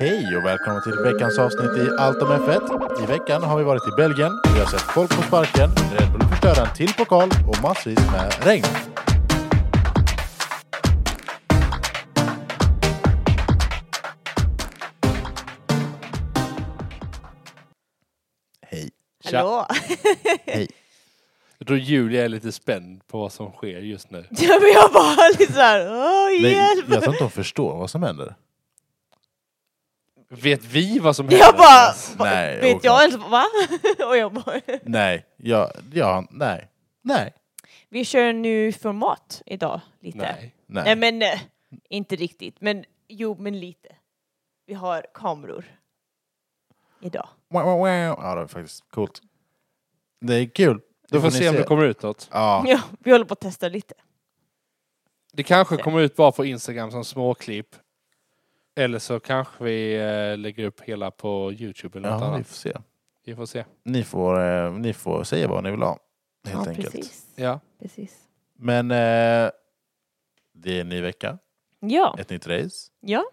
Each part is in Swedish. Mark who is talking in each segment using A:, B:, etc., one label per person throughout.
A: Hej och välkomna till veckans avsnitt i Allt om F1. I veckan har vi varit i Belgien, vi har sett folk på sparken, Red Bull förstöra en till pokal och massvis med regn. Hej.
B: Hallå!
A: Hej.
C: Jag tror Julia är lite spänd på vad som sker just nu.
B: Ja, men jag bara lite såhär, åh
A: Nej,
B: hjälp!
A: jag tror inte hon förstår vad som händer.
C: Vet vi vad som händer?
B: jag bara, va,
A: Nej,
B: vet
A: oklart.
B: jag ens va? Och jag bara,
A: Nej, ja, ja, nej, nej,
B: vi kör en ny format idag lite. Nej,
A: nej.
C: Nej.
B: men eh, inte riktigt, men jo men lite. Vi har kameror idag.
A: Wow, wow, wow. Ja, det är faktiskt coolt. Det är kul.
C: Du får se om det kommer ut något.
A: Ja,
B: Ja, vi håller på att testa lite.
C: Det kanske
B: Se.
C: kommer ut bara på Instagram som småklipp. Eller så kanske vi eh, lägger upp hela på Youtube eller något
A: ja vi
C: annat.
A: får se.
C: Vi får se.
A: Ni får, eh, ni får säga vad ni vill ha, helt
B: ja,
A: enkelt.
B: precis.
C: Ja.
B: precis.
A: Men eh, det är en ny vecka,
B: Ja,
A: ett nytt race,
B: ja.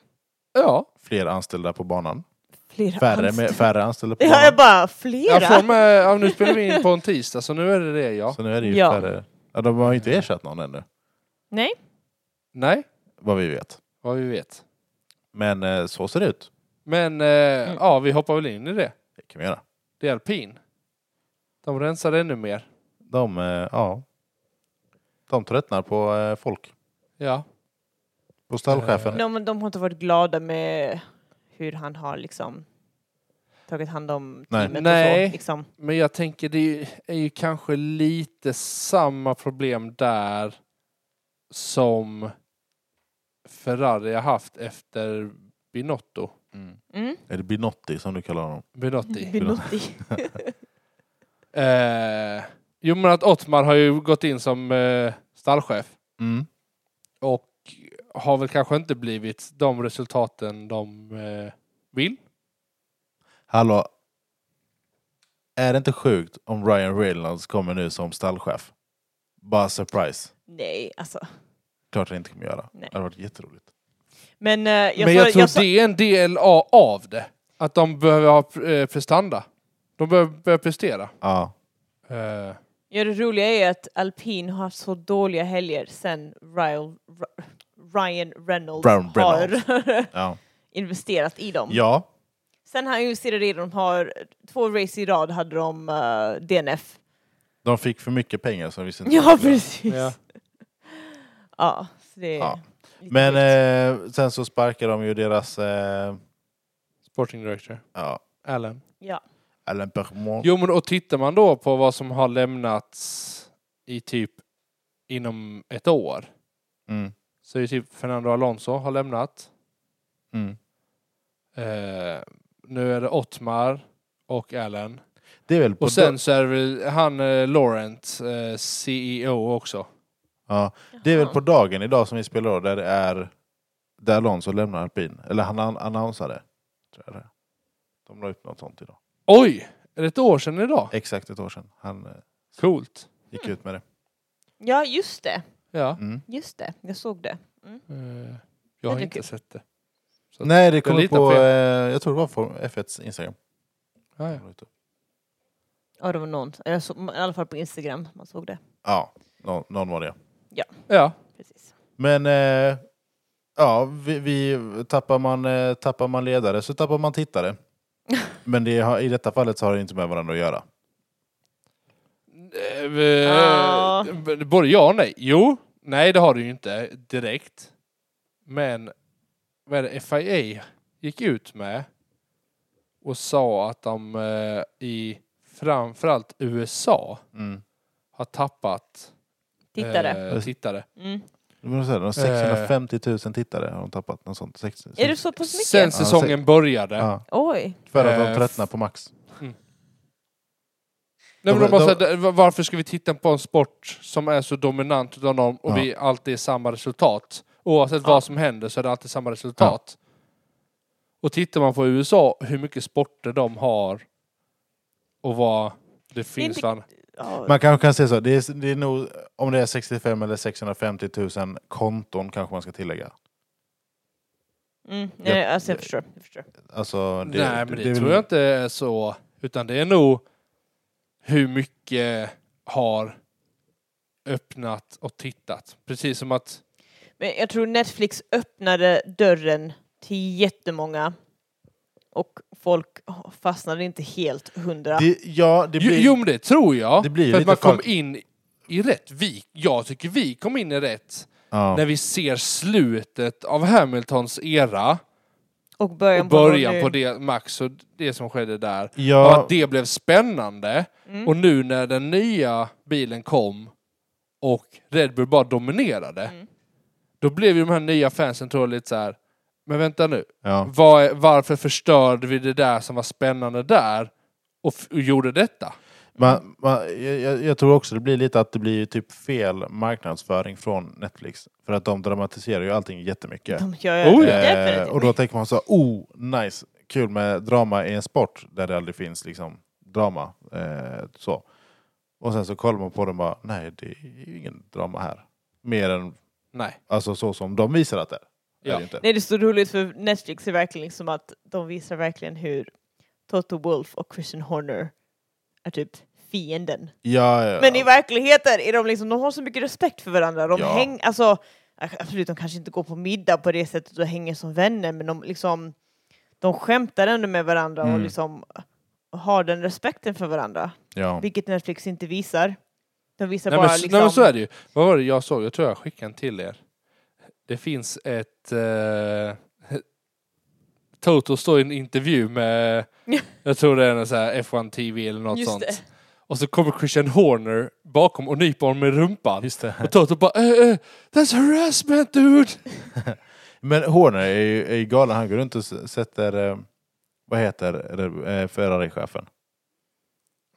C: Ja.
A: fler anställda på banan,
B: Flera
A: färre,
B: anställda.
A: med, färre anställda på
B: Ja, jag
A: banan.
B: bara,
C: Jag
B: flera?
C: får med, ja, nu spelar vi in på en tisdag så nu är det det ja.
A: Så nu är det ju
B: Ja.
A: färre. Ja, de har ju inte ersatt någon ännu,
B: Nej,
C: Nej,
A: vad vi vet.
C: vad vi vet.
A: Men eh, så ser det ut.
C: Men eh,
B: Mm.
C: ja, vi hoppar väl in i det.
A: Det kan vi göra.
C: Det är alpin. De rensar ännu mer.
A: De, eh, ja, de tröttnar på eh, folk,
C: Ja.
A: på stallchefen.
B: de, de har inte varit glada med hur han har liksom tagit hand om
A: Nej.
B: teamet och
C: Nej.
B: så. Liksom.
C: Men jag tänker det är ju, är ju kanske lite samma problem där som Ferrari har haft efter Binotto.
B: Mm.
A: Eller Binotti som du kallar honom.
C: Binotti.
B: Binotti.
C: eh, jo men att Ottmar har ju gått in som eh, stallchef
A: Mm.
C: och har väl kanske inte blivit de resultaten de eh, vill.
A: Hallå. Är det inte sjukt om Ryan Reynolds kommer nu som stallchef? Bara surprise.
B: Nej, alltså.
A: Klart han inte kommer göra.
B: Nej.
A: Det hade varit jätteroligt.
B: Men, eh, jag
C: men jag
B: sa-
C: tror
B: jag sa-
C: det är en del av- av det. Att de behöver ha eh, prestanda. De behöver börja prestera.
A: Ja.
C: Eh,
B: ja, det roliga är att alpin har haft så dåliga helger sen Ryan, Ryan Reynolds
A: Brown
B: har
A: Ja.
B: investerat i dem.
A: ja.
B: Sen har han investerat i dem, har två race i rad hade de eh, DNF.
A: De fick för mycket pengar så de visste inte vad
B: Ja,
A: de skulle göra.
B: precis. Ja,
C: Ja.
B: så det är
A: Ja.
B: lite
A: Men
B: sjukt.
A: eh, sen så sparkar de ju deras... Eh,
C: Sporting director.
A: ja.
C: Allen.
B: ja.
A: Alain Permont.
C: Jo men och tittar man då på vad som har lämnats i typ inom ett år.
A: Mm.
C: Så är ju typ Fernando Alonso har lämnat.
A: Mm.
C: Eh, nu är det Ottmar och Allen.
A: Det är väl på
C: Och sen så är det väl han eh, Laurent, eh, CEO också.
A: ja. eh, Det är väl på dagen idag som vi spelar då, där det är... Där Alonso lämnar alpin. Eller han an- annonsade. Tror jag det. är. De la upp något sånt idag.
C: Oj! Är det ett år sedan idag?
A: Exakt ett år sedan. Han eh,
C: Coolt.
A: gick ut med det.
B: ja, just det.
C: Ja.
A: Mm.
B: Just det, jag såg det. Mm.
C: Eh, jag har
B: det är
C: inte
B: kul.
C: sett det. Så att-
A: Nej, det kom
C: Jag
A: upp
C: litar
A: på,
C: på
A: eh,
C: er.
A: jag tror det var på F1s Instagram.
C: Ja, ja.
B: Ja, det var någon. Jag såg, I alla fall på Instagram, man såg det.
A: Ja, någon, någon var det.
C: ja.
B: Precis.
A: Men eh, ja, vi, vi, tappar, man, eh, tappar man ledare så tappar man tittare. Men det har, i detta fallet så har det inte med varandra att göra.
C: Eh,
B: Ja.
C: eh, Både ja och nej. Jo, nej det har du ju inte direkt. Men vad är det FIA gick ut med och sa att de eh, i framförallt USA
A: Mm.
C: har tappat
B: Tittare.
C: Eh, tittare.
B: Mm.
A: Det var så här, de har
C: Eh.
A: 650 000 tittare har de tappat. Något sånt. 60,
B: Är det så pass mycket?
C: Sen säsongen började.
A: Ja,
B: Oj.
A: för att de
C: Eh,
A: tröttnar på Max.
C: Nej, men
A: De-
C: de bara,
A: de-
C: så här, "Va- varför ska vi titta på en sport som är så dominant utav någon och
A: Ja.
C: vi alltid är samma resultat? Oavsett
B: Ja.
C: vad som händer så är det alltid samma resultat. Och tittar man på USA, hur mycket sporter de har och vad det finns.
B: inte-
C: Inte...
B: Ja.
A: Man kanske kan säga så, det är, det är nog om det är 65 eller 650 000 konton kanske man ska tillägga.
B: Mm, nej, alltså jag förstår. Jag förstår.
A: Alltså, det,
C: Nej, men det,
A: är väl-
C: tror jag inte är så. Utan det är nog hur mycket har öppnat och tittat. Precis som att
B: Men jag tror Netflix öppnade dörren till jättemånga och folk fastnade inte helt hundra.
A: Det, ja, det
C: Jo-
A: blir...
C: Jo, men det tror jag.
A: Det blir
C: för att
A: lite
C: man kom
A: folk-
C: in i rätt. Vi, jag tycker vi kom in i rätt
A: ja.
C: när vi ser slutet av Hamiltons era
B: Och början,
C: och början
B: på,
C: på det, Max och det som skedde där.
A: Ja.
C: Och att det blev spännande. Och nu när den nya bilen kom och Red Bull bara dominerade, då blev ju de här nya fansen tror jag lite så här. men vänta nu,
A: Ja.
C: Vad är, varför förstörde vi det där som var spännande där och, f- och gjorde detta?
A: Man, man, jag- jag, jag tror också det blir lite att det blir typ fel marknadsföring från Netflix. För att de dramatiserar ju allting jättemycket.
B: De gör
C: Oh, ja.
A: Eh,
B: definitivt.
A: och då tänker man så oh nice, kul med drama i en sport där det aldrig finns liksom drama. Eh, så. Och sen så kollar man på den och bara, nej det är ju ingen drama här. Mer än
C: Nej.
A: alltså, så som de visar att det är. är.
C: Ja.
A: det inte.
B: Nej, det är så roligt för Netflix är verkligen liksom att de visar verkligen hur Toto Wolff och Christian Horner är typ fienden.
A: Ja, ja, ja.
B: Men i verkligheten är de liksom, de har så mycket respekt för varandra. De
A: Ja.
B: häng, alltså, absolut, de kanske inte går på middag på det sättet och hänger som vänner, men de liksom, de skämtar ändå med varandra och
A: Mm.
B: liksom har den respekten för varandra.
A: ja.
B: Vilket Netflix inte visar. De visar
C: Nej,
B: bara
C: men, s-
B: liksom...
C: nej men så är det ju. Vad var det jag såg? Jag tror jag skickade en till er. Det finns ett... Eh, Toto står i en intervju med, jag tror det är en sån här F1 TV eller något
B: Just
C: sånt.
B: det.
C: Och så kommer Christian Horner bakom och nyper honom i rumpan.
A: Just det.
C: Och Toto bara eh, eh, That's harassment dude!
A: Men Horner är ju är ju galen, han går runt och s- sätter, eh, vad heter det, eh, Ferrari-chefen?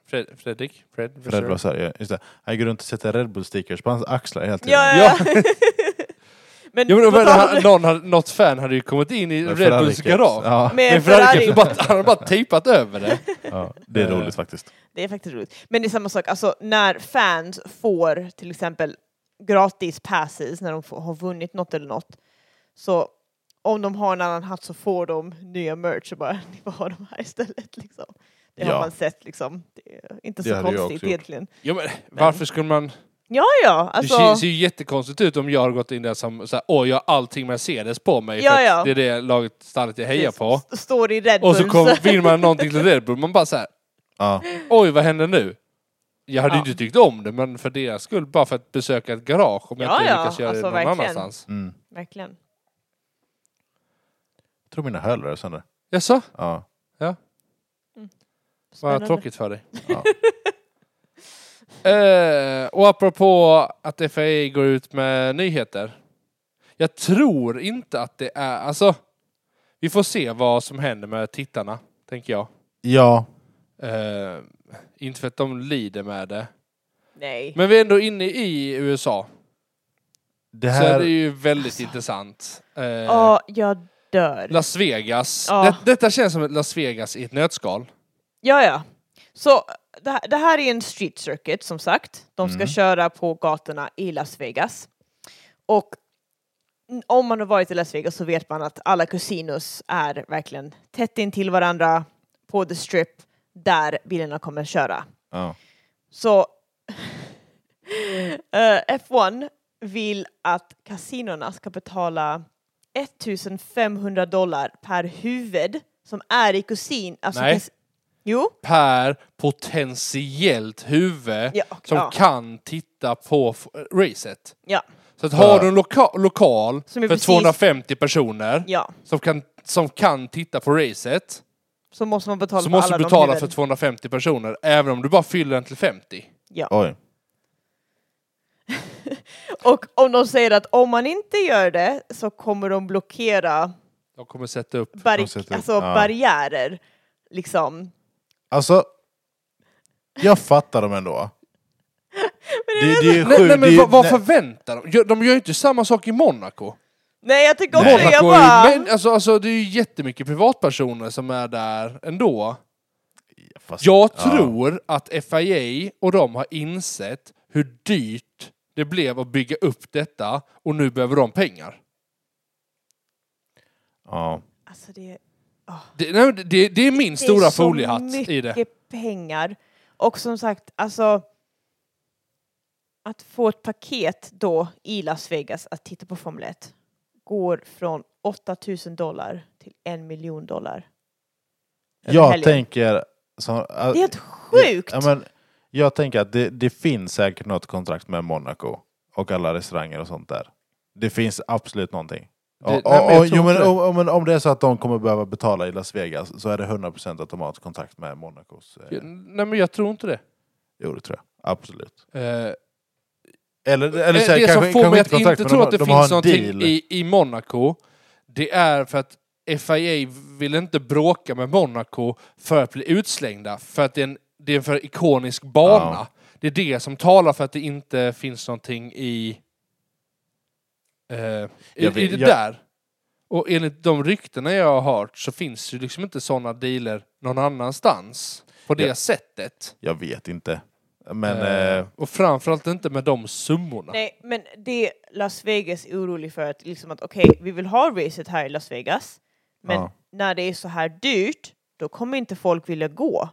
C: Fred, Fredrik? Fred,
A: Fred Vassar, ja, just det. Han går runt och sätter Red Bull stickers på hans axlar hela tiden.
B: Ja, ja. ja. men
C: Jo, men,
B: på
C: men,
B: tal-
C: han, någon, hade- något fan hade ju kommit in i
A: Med
C: Red Bulls
A: Ferrari-keps.
C: garage.
A: Ja,
B: med
C: Men
B: Ferrari.
C: Ferrari. Bara, han har bara tejpat över det.
A: ja, det är
C: Eh.
A: roligt faktiskt.
B: Det är faktiskt roligt. Men det är samma sak, alltså när fans får till exempel gratis passes när de får, har vunnit något eller något. Så om de har en annan hatt så får de nya merch och bara ni får ha de här istället. Liksom. Det har
A: Ja.
B: man sett liksom. Det är inte
A: Det
B: så
A: hade jag
B: konstigt
A: också gjort.
B: egentligen.
C: Ja, men, varför skulle man...
B: Ja, ja, alltså.
C: Det ser ju jättekonstigt ut om jag har gått in där som så här, åh, jag har allting Mercedes på mig.
B: Ja,
C: för att
B: ja.
C: Det är det laget, stallet jag hejar på.
B: st- Står i Red Bull.
C: Och så kom, vill man någonting till Red Bull, man bara så här,
A: Ja.
C: oj vad händer nu? Jag hade ju
B: Ja.
C: inte tyckt om det, men för deras skull, bara för att besöka ett garage om jag
B: Ja,
C: inte
B: ja,
C: lyckas göra
B: alltså,
C: det någon
B: verkligen.
C: annanstans.
A: Mm.
B: Verkligen.
A: Jag tror mina hörlurar är sönder.
C: Jaså?
A: Ja.
C: Vad
B: Spännande.
C: tråkigt för dig.
A: Ja.
C: Eh, och apropå att FAI går ut med nyheter. Jag tror inte att det är... Alltså, vi får se vad som händer med tittarna, tänker jag.
A: ja.
C: Eh, inte för att de lider med det.
B: Nej.
C: Men vi är ändå inne i USA.
A: Det
C: Så det är
A: här...
C: ju väldigt intressant. Eh,
B: Ja, jag dör.
C: Las Vegas.
B: Ja.
C: Det, detta känns som ett Las Vegas i ett nötskal.
B: Ja, ja. Så eh, det här, det här är en street circuit som sagt. De ska köra på gatorna i Las Vegas. Och n- om man har varit i Las Vegas så vet man att alla casinos är verkligen tätt in till varandra på the strip där bilarna kommer köra.
A: Ja.
B: Så eh, F1 vill att kasinona ska betala 1500 dollar per huvud som är i kusin. Alltså
C: Nej.
B: kas- Jo.
C: Per potentiellt huvud
B: Ja,
C: som
B: ja.
C: kan titta på f- racet.
B: Ja,
C: Så att har du en loka lokal
B: Som är
C: för
B: precis-
C: 250 personer
B: ja.
C: som, kan, som kan titta på racet
B: Så måste man betala
C: så
B: för
C: måste
B: alla
C: du
B: de
C: betala för
B: huvuden.
C: 250 personer även om du bara fyller den till 50.
B: Ja.
A: Oj.
B: Och om de säger att om man inte gör det så kommer de blockera
C: Jag kommer sätta upp...
A: De
B: barri-
A: sätter-
B: alltså
A: ja.
B: barriärer. Liksom.
A: Alltså... Jag fattar dem ändå. Det, det är ju
C: Nej,
A: sjukt.
C: nej
A: det är
C: men
A: ju-
C: vad, vad
A: nej.
C: förväntar de? Gör- De gör ju inte samma sak i Monaco.
B: Nej, jag tycker också
A: Nej.
B: det. Jag
C: Monaco är ju,
B: bara...
C: men, alltså, alltså, det är ju jättemycket privatpersoner som är där ändå.
A: Fast-
C: Jag
A: ja.
C: tror att FIA och de har insett hur dyrt det blev att bygga upp detta och nu behöver de pengar.
A: Ja.
B: Alltså det,
C: Det, nej, men det, det är min
B: det är
C: stora
B: så
C: foliehatt i det.
B: mycket pengar. Och som sagt, alltså att få ett paket då i Las Vegas att titta på Formel 1 går från 8000 dollar till en miljon dollar. Över
A: Jag
B: helgen.
A: tänker... Så,
B: Det är helt sjukt!
A: Ja, men, jag tänker att det, det finns säkert något kontrakt med Monaco och alla restauranger och sånt där. Det finns absolut någonting.
C: Det-
A: Och-
C: nej, men
A: och-
C: jag
A: och-
C: tror
A: jo, men
C: inte det.
A: om- om- men Om det är så att de kommer behöva betala i Las Vegas så är det 100% automatiskt kontrakt med Monacos. eh,
C: Nej men jag tror inte det.
A: Jo, det tror jag. Absolut.
C: Eh,
A: Eller, eller
C: det
A: så här,
C: Eh, det
A: kanske,
C: som får
A: kanske
C: mig att
A: kontrakt,
C: inte
A: men
C: tro
A: de,
C: att det
A: de har
C: finns
A: en
C: någonting
A: deal.
C: i, i Monaco, det är för att FIA vill inte bråka med Monaco för att bli utslängda, för att det är en, det är en för ikonisk bana.
A: Ja.
C: Det är det som talar för att det inte finns någonting i, eh, i,
A: Jag
C: i
A: vet-
C: det
A: jag-
C: där. Och enligt de ryktena jag har hört så finns det ju liksom inte sådana dealer någon annanstans på det
A: Ja.
C: sättet.
A: Jag vet inte. Men...
C: Eh,
A: eh,
C: och framförallt inte med de summorna.
B: Nej, men det Las Vegas är orolig för att liksom att okej, vi vill ha racet här i Las Vegas, men
A: Ja.
B: när det är så här dyrt, då kommer inte folk vilja gå.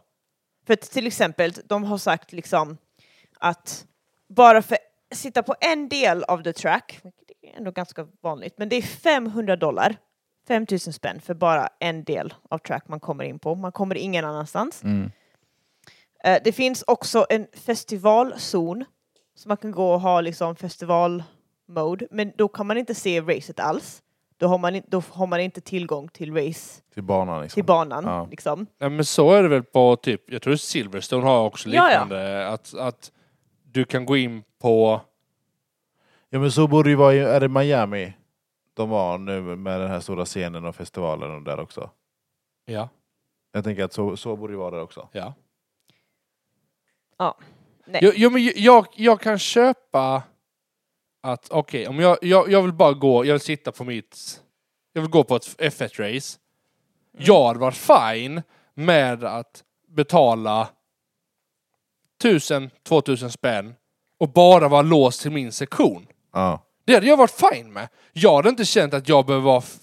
B: För att till exempel, de har sagt liksom att bara för sitta på en del av the track, vilket är ändå ganska vanligt, men det är 500 dollar, 5000 spänn för bara en del av track man kommer in på. Man kommer ingen annanstans.
A: mm.
B: Eh, Det finns också en festivalzon så man kan gå och ha liksom festivalmode, men då kan man inte se racet alls. Då har man, in, då har man inte tillgång till race,
A: Till banan liksom.
B: till banan.
A: Ja.
B: Liksom.
C: Nej men så är det väl på typ, jag tror Silverstone har också
B: Ja, ja.
C: liknande, Att, att du kan gå in på,
A: Ja men så borde det ju vara, i- är det Miami de var nu med den här stora scenen och festivalen och där också?
C: ja,
A: Jag tänker att så, så borde det vara där också.
C: ja.
B: Ja. Nej.
C: Jo, jo, men ju- jag, jag kan köpa att, okej, om jag, jag, jag vill bara gå, jag vill sitta på mitt, jag vill gå på ett F1-race. Jag hade varit fine med att betala 1000, 2000 spänn och bara vara låst till min sektion.
A: Ja.
C: Det hade jag varit fine med. Jag hade inte känt att jag behöver vara f-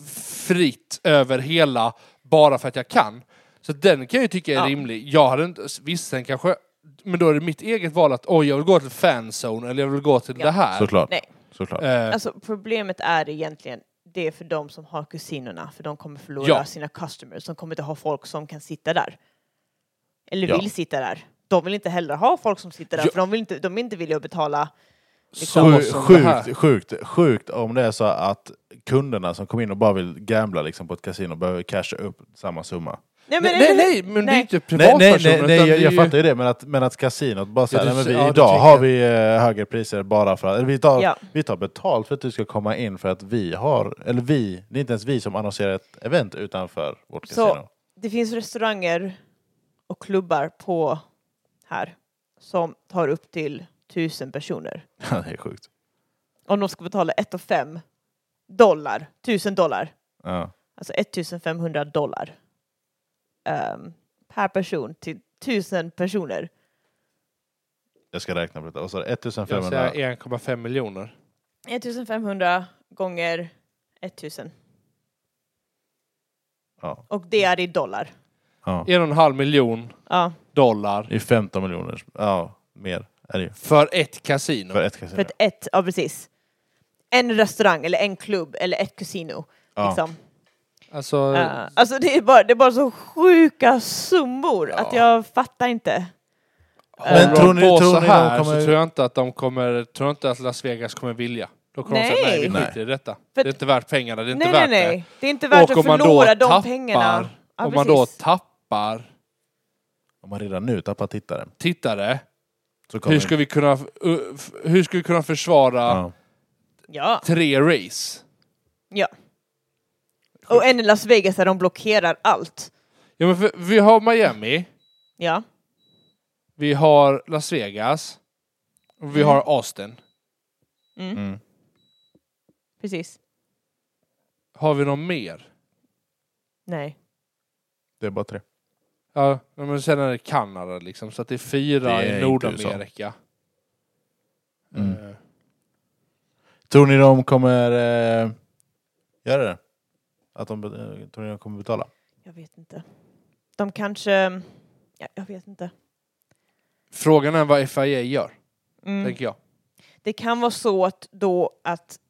C: fritt över hela bara för att jag kan. Så den kan jag ju tycka är
B: Ja.
C: rimlig. Jag hade inte, visst sen kanske, men då är det mitt eget val att oj, jag vill gå till fanzone eller jag vill gå till
B: Ja.
C: det här.
A: Såklart.
B: Nej.
A: Såklart.
C: Eh,
B: Alltså, problemet är egentligen det är för de som har kusinerna, för de kommer förlora
C: Ja.
B: sina customers. De kommer inte ha folk som kan sitta där. Eller
A: Ja.
B: vill sitta där. De vill inte heller ha folk som sitter där,
C: Ja.
B: för de, vill inte, de är inte villiga att betala.
C: så
A: Sju-
C: som det här.
A: sjukt, sjukt, sjukt om det är så att kunderna som kommer in och bara vill gambla liksom på ett kasino behöver casha upp samma summa.
C: Nej,
B: eller
C: nej,
B: hur?
C: nej, men det är inte
A: Nej,
C: privatpersoner.
A: nej, nej, nej
C: utan
A: jag,
C: det är
A: jag
C: ju-
A: fattar ju det, men att, men att kasinot bara
C: Ja,
A: säger
C: du
A: nej, men vi,
C: ser- ja, du
A: idag
C: tänker-
A: har vi eh, högre priser bara för att, eller vi tar,
B: Ja.
A: vi tar betalt för att du ska komma in för att vi har, eller vi, det är inte ens vi som annonserar ett event utanför vårt
B: Så-
A: kasino.
B: det finns restauranger och klubbar på här som tar upp till tusen personer.
A: Ja, det är sjukt.
B: Om de ska betala 1 5 dollar, tusen dollar,
A: Ja.
B: alltså 1500 dollar ehm, per person till tusen personer.
A: Jag ska räkna på detta. Vad sa du?
C: Jag
A: 1500?
C: säger 1,5 miljoner.
B: 1500 gånger 1000
A: Ja.
B: och det är i dollar.
A: ja.
C: En och en halv miljon
B: Ja,
C: dollar
A: Det är 15 miljoner. Ja, mer är det ju.
C: för ett kasino.
A: För ett kasino.
B: Mm. för att ett, ja precis. En restaurang eller en klubb eller ett kasino.
A: Ja.
B: Liksom.
C: Alltså,
B: Eh, alltså det är, bara, det är bara så sjuka summor att jag fattar inte.
C: Men tror ni, på
A: tror
C: så
A: ni de
C: här
A: kommer-
C: så tror jag inte att de kommer, tror jag inte att Las Vegas kommer vilja. Då kommer de säga
B: Nej.
C: nej, vi skiter i detta. Det är
B: För-
C: inte värt pengarna, det är inte
B: nej, nej,
C: värt
B: nej. Det är inte värt
C: Och
B: att
C: om man då
B: förlora de
C: tappar-
B: pengarna.
C: det.
B: Ja,
C: Om man då
B: precis.
C: tappar
A: Om man redan nu tappar tittaren
C: tittare,
A: så kommer
C: hur ska vi kunna, f- uh, f- hur ska vi kunna försvara
A: ja.
B: ja.
C: tre race?
B: ja. Och en i Las Vegas där de blockerar allt.
C: Ja, men för, vi har Miami,
B: Ja.
C: vi har Las Vegas, och vi har Austin.
B: Mm.
A: Mm.
B: Precis.
C: Har vi någon mer?
B: Nej.
A: Det är bara tre.
C: Ja, men sen är det Kanada liksom, så att det är fyra
A: Det är
C: i
A: inte
C: Nordamerika.
A: Mm.
C: Eh,
A: Tror ni de kommer eh, göra det? Att de eh, tror ni de kommer betala?
B: Jag vet inte. De kanske... Ja, jag vet inte.
C: Frågan är vad FIA gör,
B: Mm.
C: tänker jag.
B: Det kan vara så att då att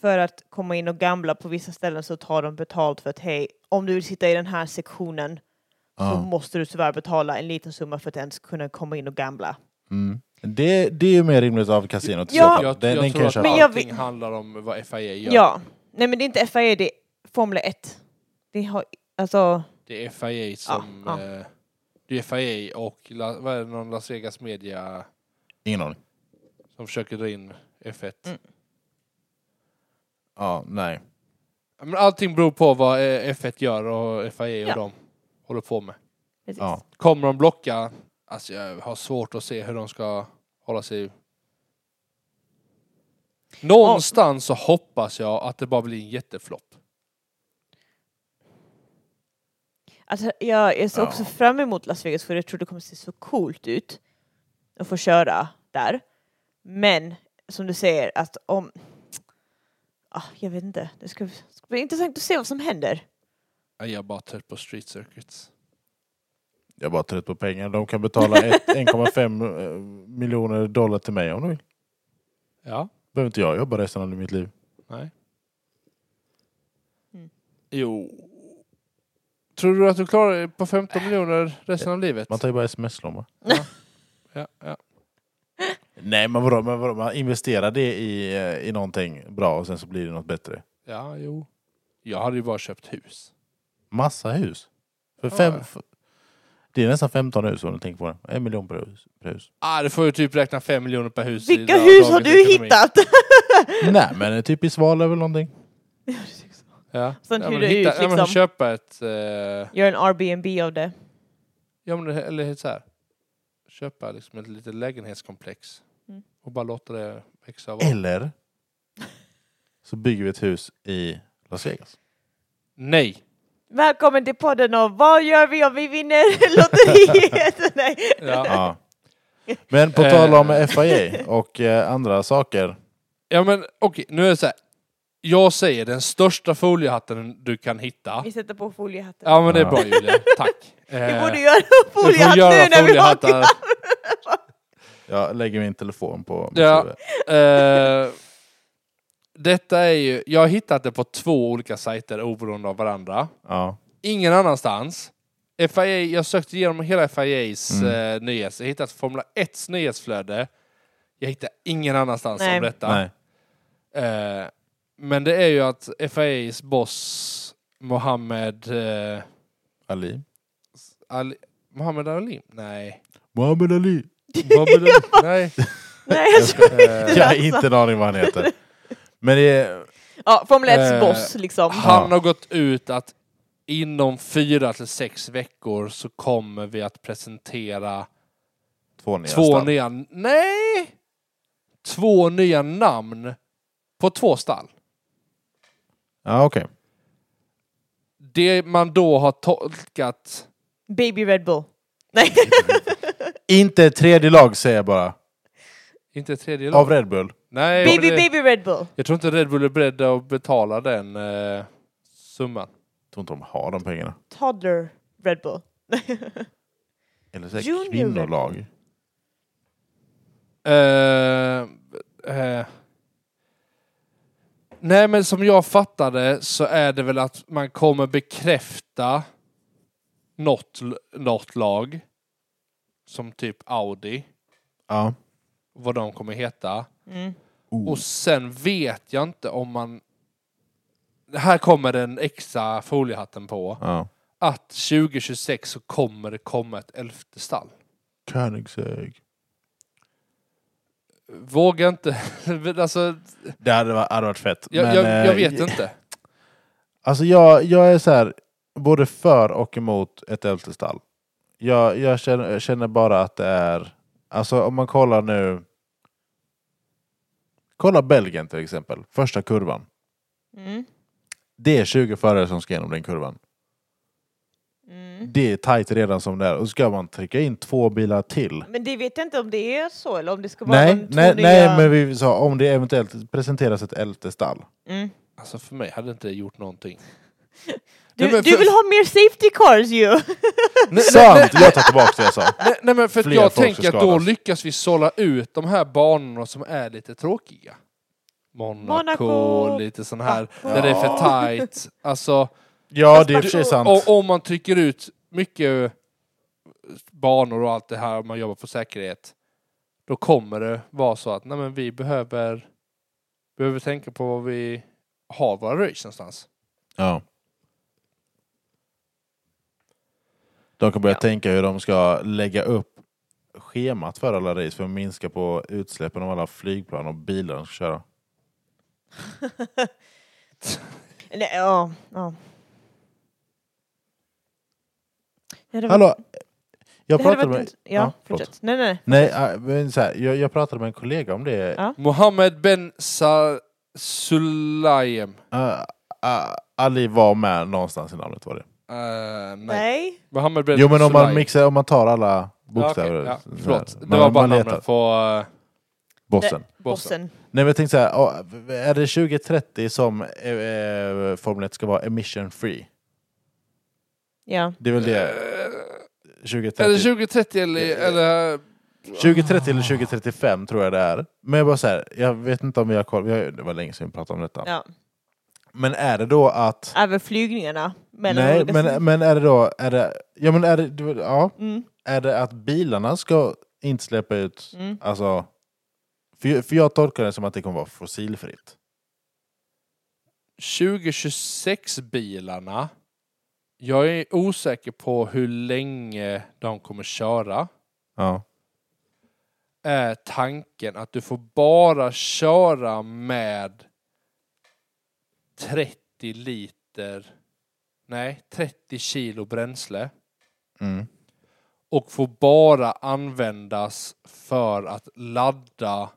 B: för att komma in och gambla på vissa ställen så tar de betalt för att hej, om du vill sitta i den här sektionen så
A: Ja.
B: måste du tyvärr betala en liten summa för att ens kunna komma in och gambla.
A: Mm. Det, det är ju mer rimligt av kasinot. i
B: Ja.
A: så fall.
C: Jag,
A: den,
C: jag
A: den kan
C: tror
A: jag
C: att
A: köpa.
B: Men jag
C: allting
B: vet-
C: handlar om vad FIA
B: Ja.
C: gör.
B: Nej men det är inte FIA, det är Formel 1. Det har, alltså,
C: Det är FIA som...
B: Ja,
C: Eh, det är FIA och La, vad är det, någon Las Vegas Media
A: Ingen aning.
C: som försöker dra in F1.
B: Mm.
A: Ja, nej.
C: Men allting beror på vad eh, F1 gör och FIA och
B: Ja.
C: de håller på med.
B: precis.
A: Ja.
C: Kommer de blocka? Alltså jag har svårt att se hur de ska hålla sig... Någonstans så hoppas jag att det bara blir en jätteflopp.
B: Alltså, jag jag ser
A: Ja.
B: också fram emot Las Vegas för jag tror det kommer se så coolt ut att få köra där. Men som du säger att om... Ah, jag vet inte. Det ska, ska bli intressant att se vad som händer.
C: Jag är bara trött på street circuits.
A: Jag är bara trött på pengar. De kan betala ett- 1,5 eh, miljoner dollar till mig om de vill.
C: Ja.
A: behöver inte jag jobba resten av mitt liv.
C: Nej.
B: Mm.
C: Jo. Tror du att du klarar dig på
B: Äh.
C: 15 miljoner resten av livet?
A: Man tar ju bara sms-lån va?
C: Ja, ja.
A: Nej men vadå, men vadå, man investerar det i, eh, i någonting bra och sen så blir det något bättre.
C: ja, jo. Jag hade ju bara köpt hus.
A: Massa hus. För
C: Ja.
A: fem, f- det är nästan 15 hus om du tänker på det. En miljon per hus. Per hus.
C: Ah, du får ju typ räkna 5 miljoner per hus. i
B: Vilka
C: dag-
B: hus har
C: dagens
B: du
C: ekonomi.
B: hittat?
A: Nej men eh, typ i Svalöv eller någonting.
C: Ja.
B: Sen
C: ja, men
B: hyra ut,
C: hitta- ja, men
B: liksom.
C: köpa ett... eh,
B: Gör en Airbnb av det.
C: Ja, men, det- eller så här. Köpa liksom ett litet lägenhetskomplex
B: Mm.
C: och bara låta det växa av.
A: Eller så bygger vi ett hus i Las Vegas.
C: Nej!
B: Välkommen till podden och vad gör vi om vi vinner lotteriet? Nej.
C: Ja.
A: Ja. Men på
C: Eh.
A: tal om FIA och eh, andra saker.
C: ja, men okej, nu är det så här. Jag säger den största foliehatten du kan hitta.
B: Vi sätter på foliehatten.
C: Ja, men det är
A: Ja.
C: bra Julia. Tack.
B: Vi
C: Eh,
B: borde göra
C: du får
B: foliehatt nu
C: göra
B: när vi har
C: foliehattar.
A: Jag lägger min telefon på mitt
C: Ja.
A: huvud.
C: Eh, Detta är ju... Jag har hittat det på två olika sajter oberoende av varandra.
A: Ja.
C: ingen annanstans. FIA, jag sökte igenom hela FIAs eh, nyhets. Jag hittat Formula 1s nyhetsflöde. Jag hittar ingen annanstans
B: Nej.
C: om detta.
A: Nej.
C: Eh, men det är ju att FIAs boss Mohammed eh,
A: Ali.
C: Ali, Mohammed Ali? Nej.
A: Muhammad Ali.
C: Mohammed Ali? Nej.
B: Nej, jag tror
C: Eh,
A: Jag har inte en aning vad han heter. Men det är...
B: Ja, Formel 1
C: Eh,
B: boss liksom.
C: han har gått ut att inom fyra till sex veckor så kommer vi att presentera
A: Två nya
C: Två
A: stall.
C: nya... Nej! Två nya namn på två stall.
A: Ja, okej.
C: Det man då har tolkat...
B: Baby Red Bull. Nej,
A: Inte ett tredje lag säger jag bara.
C: Inte tredje lag.
A: Av Red Bull.
C: Nej,
B: Baby
C: det,
B: Baby Red Bull.
C: jag tror inte Red Bull är beredda att betala den eh, summan.
A: Jag tror inte de har de pengarna.
B: Toddler Red Bull.
A: Eller så är det
B: Junior
A: kvinnolag.
C: Eh, eh. Nej, men som jag fattade så är det väl att man kommer bekräfta något, något lag. Som typ Audi.
A: Ja.
C: vad de kommer heta.
B: Mm.
A: Oh.
C: Och sen vet jag inte om man... Här kommer den extra foliehatten på.
A: ja.
C: Att 2026 så kommer det komma ett elfte stall.
A: Königsegg.
C: Vågar inte... alltså,
A: Det hade varit, hade varit fett.
C: jag,
A: men,
C: jag, jag
A: eh,
C: vet inte.
A: Alltså jag, jag är så här, både för och emot ett ältestall. Jag, jag, känner, jag känner bara att det är... Alltså om man kollar nu... Kolla Belgien till exempel, första kurvan.
B: Mm.
A: Det är 20 förare som ska genom den kurvan.
B: Mm.
A: Det är tajt redan som det är. Och så ska man trycka in två bilar till.
B: Men det vet jag inte om det är så eller om det ska vara
A: Nej,
B: de två
A: nej,
B: nya...
A: nej, men vi sa om det eventuellt presenteras ett elfte stall.
B: Mm.
C: Alltså för mig hade det inte gjort någonting.
B: Du,
C: Nej, men
B: du
C: för-
B: vill ha mer safety cars ju!
C: Nej,
A: Sant! Jag tar tillbaka det jag sa.
C: nej, nej men för att
A: Fler
C: jag
A: folk
C: tänker
A: som
C: att då
A: skadas.
C: lyckas vi sålla ut de här banorna som är lite tråkiga. Monaco,
B: Monaco.
C: lite sån här, där det är för tight. Alltså,
A: Ja, det är i och för sig sant.
C: och, om man trycker ut mycket banor och allt det här, om man jobbar för säkerhet, då kommer det vara så att nej, men vi behöver, behöver tänka på vad vi har våra race någonstans.
A: Ja. De kan börja tänka hur de ska lägga upp schemat för alla race för att minska på utsläppen av alla flygplan och bilar de ska köra.
B: Nej, ja, ja. Ja, det var-
A: Hallå! Jag
B: det hade
A: pratade
B: varit
A: med...
B: int- Ja,
A: förlåt.
B: fortsätt. Nej, nej.
A: Nej, äh, men så här, jag, jag pratade med en kollega om det.
B: Ja.
C: Mohammed Ben Sa- Sulaim. eh,
A: Äh, äh, Ali var med någonstans i namnet var det.
C: Eh, nej.
B: Nej.
C: Mohammed Ben
A: Jo men om man
C: Sulaim.
A: mixar, om man tar alla bokstäver.
C: Ja, okej,
A: så här,
C: ja, förlåt, det
A: man-
C: var bara
A: man letar.
C: namnet på eh,
A: Bossen.
C: bossen.
B: Bossen.
A: Nej men jag tänkte så här, ja, är det 2030 som eh, eh, Formel 1 ska vara emission free?
B: Ja.
A: Det är väl det
C: Eh, Är
A: 2030,
C: det 2030 eller,
A: Eh,
C: eller
A: 2030 eller 2035 tror jag det är. Men jag bara så här, jag vet inte om vi har koll, vi har, det var länge sedan vi pratade om detta.
B: ja.
A: Men är det då att...
B: Även flygningarna. Mellan
A: Nej,
B: olika sidor.
A: men, men är det då... Är det, ja, men är det, du- ja,
B: Mm,
A: är det att bilarna ska inte släppa ut...
B: mm.
A: Alltså, för, för jag tolkar det som att det kommer vara fossilfritt.
C: 2026-bilarna. Jag är osäker på hur länge de kommer köra.
A: Ja.
C: Är tanken att du får bara köra med 30 liter, nej 30 kilo bränsle
A: Mm.
C: och får bara användas för att ladda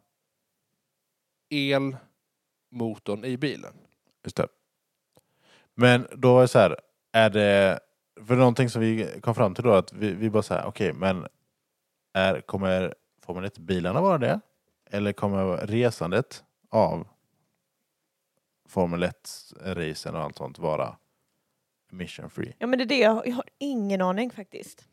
C: elmotorn i bilen.
A: Just det. Men då är det så här, är det... För någonting som vi kom fram till då, att vi, vi bara så här, okej, men är, kommer Formel 1-bilarna vara det? Eller kommer resandet av Formel 1-racen och allt sånt vara mission free?
B: Ja, men det är det. Jag jag har ingen aning faktiskt.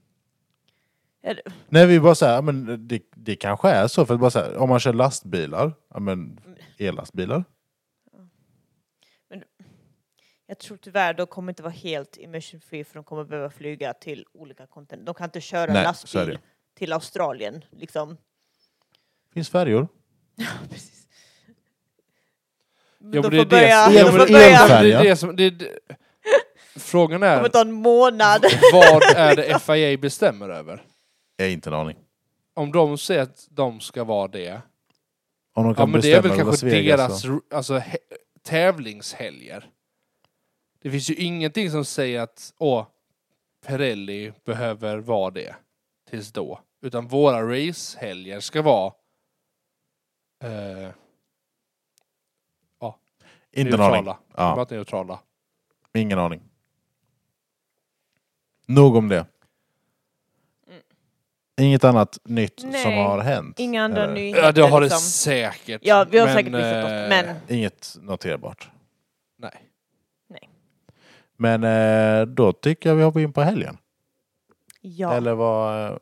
B: Ja, det-
A: Nej, vi bara så här, ja, men det, det kanske är så, för att bara så här, om man kör lastbilar, ja, men ellastbilar,
B: Jag tror tyvärr de kommer inte vara helt emission free för de kommer behöva flyga till olika kontinenter. De kan inte köra
A: Nej, så är
B: lastbil
A: det.
B: till Australien liksom.
A: finns färjor.
B: Precis.
C: Ja,
B: de
C: men
B: får
C: det är det
B: börja...
C: som-
B: De
A: Ja,
B: får
A: men det är
B: börja...
A: elfärg.
B: Det
C: Det
A: Färja.
C: är det som, det är, d- frågan är,
B: kommer ta en månad.
C: vad är det FIA bestämmer över?
A: Jag har inte en aning.
C: Om de säger att de ska vara det,
A: Om de kan
C: ja men det är väl
A: bestämma
C: kanske
A: Las Vegas
C: deras
A: och-
C: ro- alltså, he, tävlingshelger. Det finns ju ingenting som säger att åh, Pirelli behöver vara det tills då. Utan våra racehelger ska vara eh,
A: Inte en aning.
C: neutrala.
A: Ja.
C: Vara neutrala.
A: Ingen aning. Nog om det. Inget annat nytt
B: Nej,
A: som har hänt?
B: Inga andra
A: Eller?
B: nyheter.
C: Ja, det har det
B: liksom.
C: säkert.
B: Ja, vi har
C: Men,
B: säkert missat något,
C: eh,
B: men
A: Inget noterbart.
C: Nej.
A: Men eh, då tycker jag vi hoppar in på helgen.
B: ja.
A: Eller vad... eh,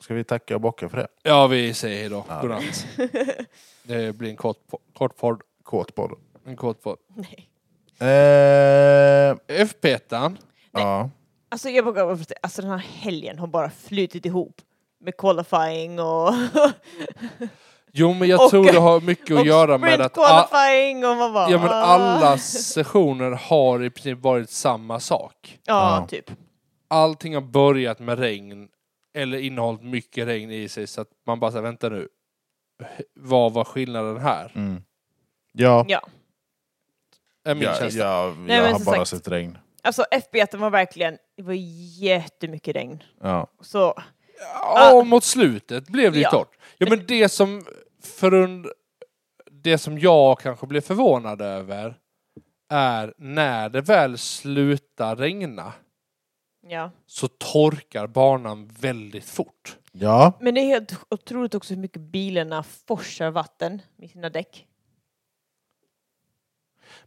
A: Ska vi tacka och bocka för det?
C: Ja, vi säger hejdå.
A: Ja.
C: Godnatt. Det blir en kort, po- kort podd.
A: Kåt på det.
C: En kort podd.
B: Nej.
A: Eh,
C: FP-ettan.
A: ja.
B: Alltså jag vågar bara förstå- alltså den här helgen har bara flutit ihop med qualifying och,
C: Jo, men jag
B: Och-
C: tror det har mycket att
B: och
C: göra med
B: sprint
C: att a-
B: qualifying och man bara...
C: ja, men
B: ah.
C: alla sessioner har i princip varit samma sak.
B: Ja,
A: Ja.
B: typ.
C: Allting har börjat med regn eller innehållit mycket regn i sig så att man bara säger vänta nu. Vad var skillnaden här?
A: Mm. Ja,
B: Ja.
C: Är min
A: ja,
C: känsla.
A: ja
B: Nej,
A: jag
B: men
A: har
B: som
A: bara
B: sagt.
A: sett regn.
B: Alltså FB1 var verkligen, det var jättemycket regn.
A: Ja.
B: Så,
C: Ja, och mot slutet blev det ju
B: Ja.
C: torrt. Ja, men det som förund... Det som jag kanske blev förvånad över är när det väl slutar regna
B: ja.
C: så torkar banan väldigt fort.
A: ja,
B: Men det är helt otroligt också hur mycket bilarna forsar vatten med sina däck.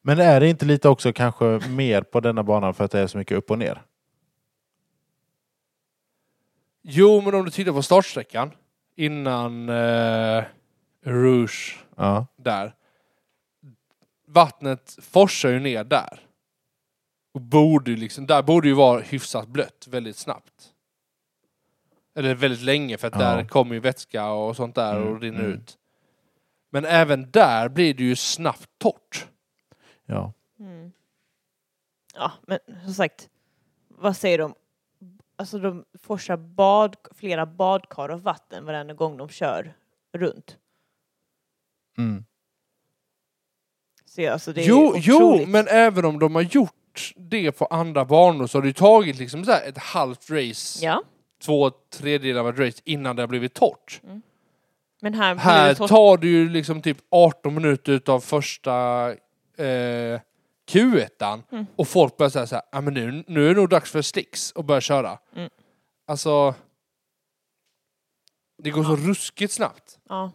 A: Men är det inte lite också kanske mer på denna banan för att det är så mycket upp och ner?
C: Jo, men om du tittar på startsträckan innan eh, Rouge
A: Ja.
C: där. Vattnet forsar ju ner där. Och borde ju liksom, där borde ju vara hyfsat blött väldigt snabbt. Eller väldigt länge för att
A: Ja.
C: där kommer ju vätska och sånt där
A: Mm,
C: och rinner
A: mm.
C: ut. Men även där blir det ju snabbt torrt.
A: ja.
B: Mm. Ja, men som sagt, vad säger de? Alltså de forsar bad, flera badkar av vatten varenda gång de kör runt.
A: Mm.
B: Så ja, alltså det är
C: Jo,
B: otroligt.
C: jo, men även om de har gjort det på andra banor så har det ju tagit liksom så här ett halvt race,
B: Ja,
C: två tredjedelar av ett race innan det har blivit torrt.
B: men här, blir
C: Här
B: det torrt-
C: tar du ju liksom typ 18 minuter utav första eh, Q1
B: Mm.
C: och folk börjar säga så här, "Ja, men nu, nu är det nog dags för sticks och börja köra.
B: Mm.
C: Alltså, det går så ruskigt snabbt.
B: Ja.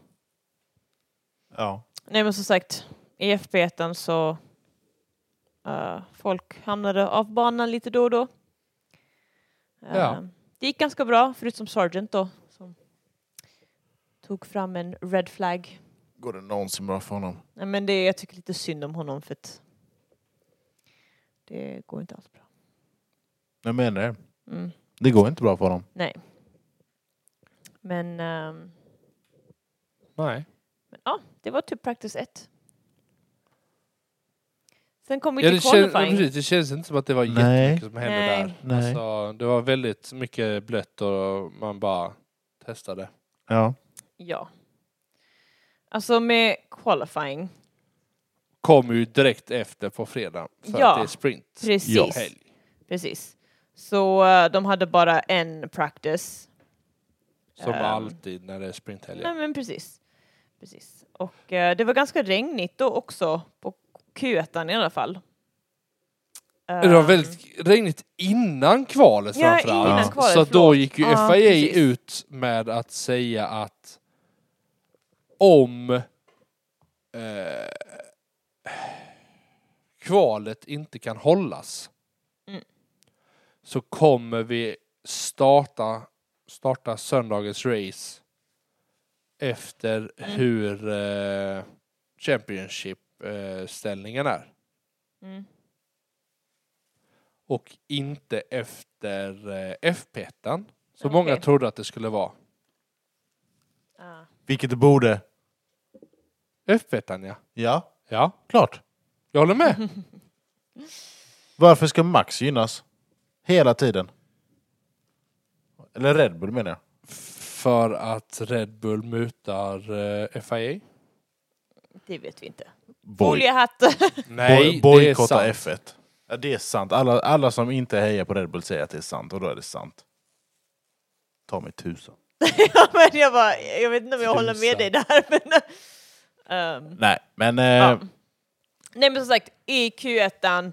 A: ja.
B: Nej, men som sagt, i FP1 så eh, folk hamnade av banan lite då och då. Eh,
C: Ja.
B: Det gick ganska bra, förutom Sargent då, som tog fram en red flag.
A: Går det någonsin bra för honom?
B: Nej, men det, jag tycker lite synd om honom för att det går inte alls bra.
A: Jag menar det.
B: Mm.
A: Det går inte bra för honom.
B: Men, ehm,
C: Nej.
B: men ja, det var typ practice 1. Sen kom vi
C: Ja,
B: till
C: det, känns,
B: qualifying.
C: precis, det känns inte som att det var
A: Nej.
C: jättemycket som hände
B: Nej.
C: där.
A: Nej.
C: Alltså, det var väldigt mycket blött och man bara testade.
A: Ja.
B: Ja. Alltså med qualifying,
C: Kom ju direkt efter på fredag för
B: Ja.
C: att det är sprint.
B: precis.
A: Ja.
C: Helg.
B: precis. Så eh, de hade bara en practice.
C: Som
B: Ehm.
C: alltid när det är sprinthelger.
B: Nej men precis. precis. Och eh, det var ganska regnigt då också på Q1 i alla fall.
C: Det var
B: Ehm,
C: väldigt regnigt innan kvalet
B: Ja,
C: framförallt.
A: innan
B: kvalet,
C: så att då
B: förlåt.
C: gick ju
B: Ja,
C: FIA
B: precis.
C: ut med att säga att om eh, kvalet inte kan hållas
B: Mm.
C: så kommer vi starta, starta söndagens race efter
B: Mm.
C: hur eh, Championship-ställningen är.
B: Mm.
C: och inte efter eh, FP1. Så
B: Okej.
C: många trodde att det skulle vara.
B: Ah.
A: Vilket det borde.
C: FP1 ja.
A: Ja,
C: Ja,
A: klart.
C: jag håller med.
A: Varför ska Max gynnas? Hela tiden. Eller Red Bull menar jag.
C: För att Red Bull mutar eh, FIA.
B: Det vet vi inte.
A: Boy.
B: Foliehatt.
A: Boy.
C: Nej, det är
A: Bojkotta
C: sant.
A: F1. Ja, det är sant. Alla, alla som inte hejar på Red Bull säger att det är sant och då är det sant. Ta mig tusan.
B: ja, men jag, bara, jag vet inte om jag håller med
C: Tusan.
B: dig där. Men, Ehm,
A: Nej, men... Eh,
B: ja. Nej men som sagt, i Q1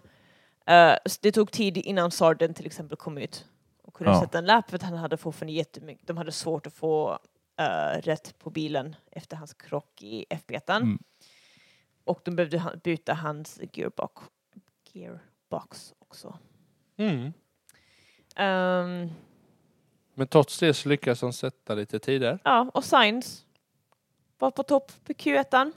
B: eh, det tog tid innan Sarden till exempel kom ut och kunde
A: Ja.
B: sätta en lapp för att han hade fortfarande jättemycket, de hade svårt att få eh, rätt på bilen efter hans krock i FB1.
A: Mm.
B: Och de behövde ha- byta hans gearbox, gearbox också.
C: Mm.
B: Ehm,
C: Men trots det så lyckas de sätta lite tider.
B: Ja, och Sainz var på topp på Q1.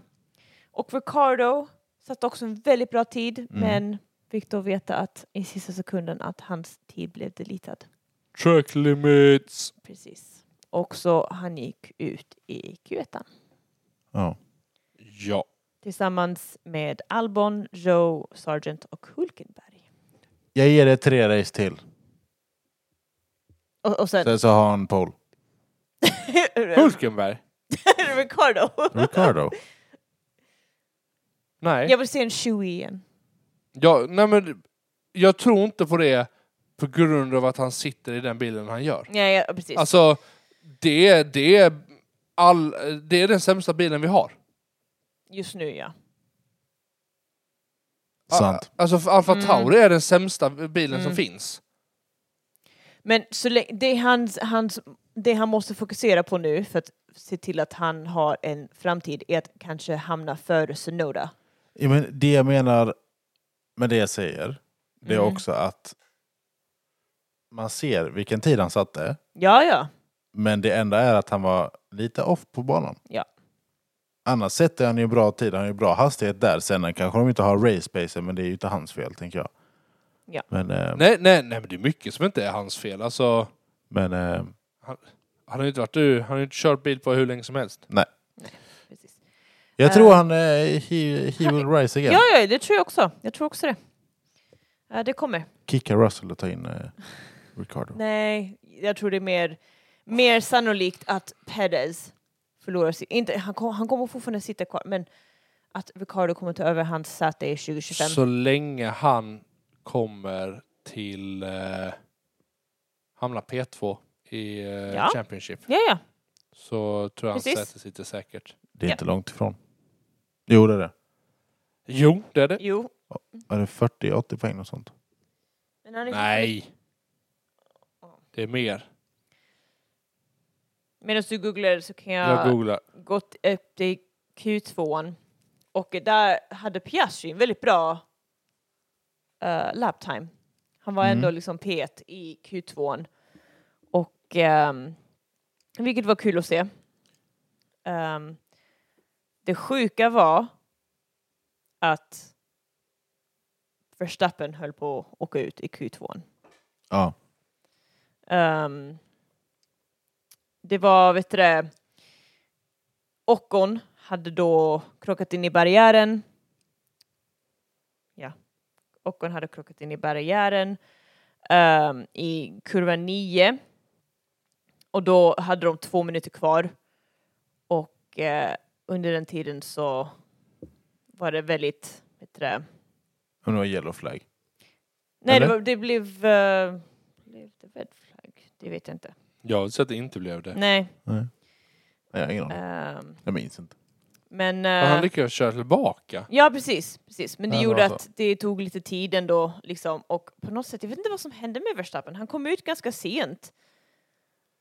B: Och Ricardo satte också en väldigt bra tid, men fick då veta att i sista sekunden att hans tid blev deletad.
C: Track limits.
B: Precis. Och så han gick ut i Q1
A: ja.
C: Ja.
B: tillsammans med Albon, Joe, Sargent och Hulkenberg.
A: Jag ger det tre race till.
B: Och, och sen
A: Sen så har han pole.
C: Hulkenberg?
B: Ricardo.
A: Ricardo.
C: Nej.
B: Jag vill se en Chewie igen.
C: Ja, nej men, jag tror inte på det på grund av att han sitter i den bilen han gör.
B: Ja, ja precis.
C: Alltså, det, är- det, är all, det är den sämsta bilen vi har.
B: Just nu ja.
A: Sant.
C: Ah, Alltså för Alfa
B: Mm.
C: Tauri är den sämsta bilen
B: Mm.
C: som finns.
B: Men så lä- det, hans, hans, det han måste fokusera på nu för att se till att han har en framtid är att kanske hamna före Sunoda.
A: Ja, men det jag menar med det jag säger, det är
B: Mm.
A: också att man ser vilken tid han satte,
B: Ja, ja.
A: men det enda är att han var lite off på banan.
B: Ja.
A: Annars sätter han ju bra tid, han har ju bra hastighet där. Sen kanske de inte har race pacer, men det är ju inte hans fel, tänker jag.
B: Ja.
A: Men, eh,
C: Nej, nej, nej, men det är mycket som inte är hans fel. Alltså,
A: men eh,
C: han har ju inte varit du, han har ju inte kört bil på hur länge som helst.
B: Precis.
A: jag
B: Eh.
A: tror han eh, he, he will rise again.
B: Ja, ja, det tror jag också. Jag tror också det. Eh, Det kommer.
A: Kicka Russell och ta in eh, Ricardo.
B: Nej, jag tror det är mer, mer sannolikt att Perez förlorar sin... Inte, han, kom, han kommer fortfarande sitta kvar, men att Ricardo kommer ta över hans säte i 2025.
C: Så länge han kommer till eh, hamna P2 i eh,
B: Ja.
C: Championship
B: Ja, ja.
C: så tror jag
B: Precis.
C: han sätter sitter säkert.
A: Det är
B: Ja.
A: inte långt ifrån. Jo, det är det.
C: Jo, det är det.
B: Jo.
A: Är det 40-80 poäng och sånt?
B: Men han är
C: Nej. Det är mer.
B: Medan du googlar så kan jag,
C: Jag googlar.
B: gått upp till Q2 och där hade Piastri en väldigt bra eh, lap time. Han var
A: Mm.
B: ändå liksom P1 i Q2 och ehm, vilket var kul att se. Ehm, det sjuka var att Verstappen höll på att åka ut i Q2.
A: Ja.
B: Ehm, det var, vet du det, Ockon hade då krockat in i barriären. Ja, Ockon hade krockat in i barriären ehm, i kurva 9. Och då hade de två minuter kvar. Och eh, under den tiden så var det väldigt, vet du det,
A: Men det var yellow flag.
B: nej det,
A: Eller?
B: var, det blev, eh, blev det red flag? Det vet jag inte.
C: Jag vill säga att det inte blev det.
B: Nej.
A: Nej, jag har ingen aning.
B: ehm,
A: Jag minns inte.
B: Men...
C: Men han
B: eh,
C: lyckades köra tillbaka.
B: ja, precis. precis. Men det
A: Ja, det
B: gjorde
A: var
C: alltså-
A: så.
B: att det tog lite tid ändå. Liksom. Och på något sätt, jag vet inte vad som hände med Verstappen. Han kom ut ganska sent.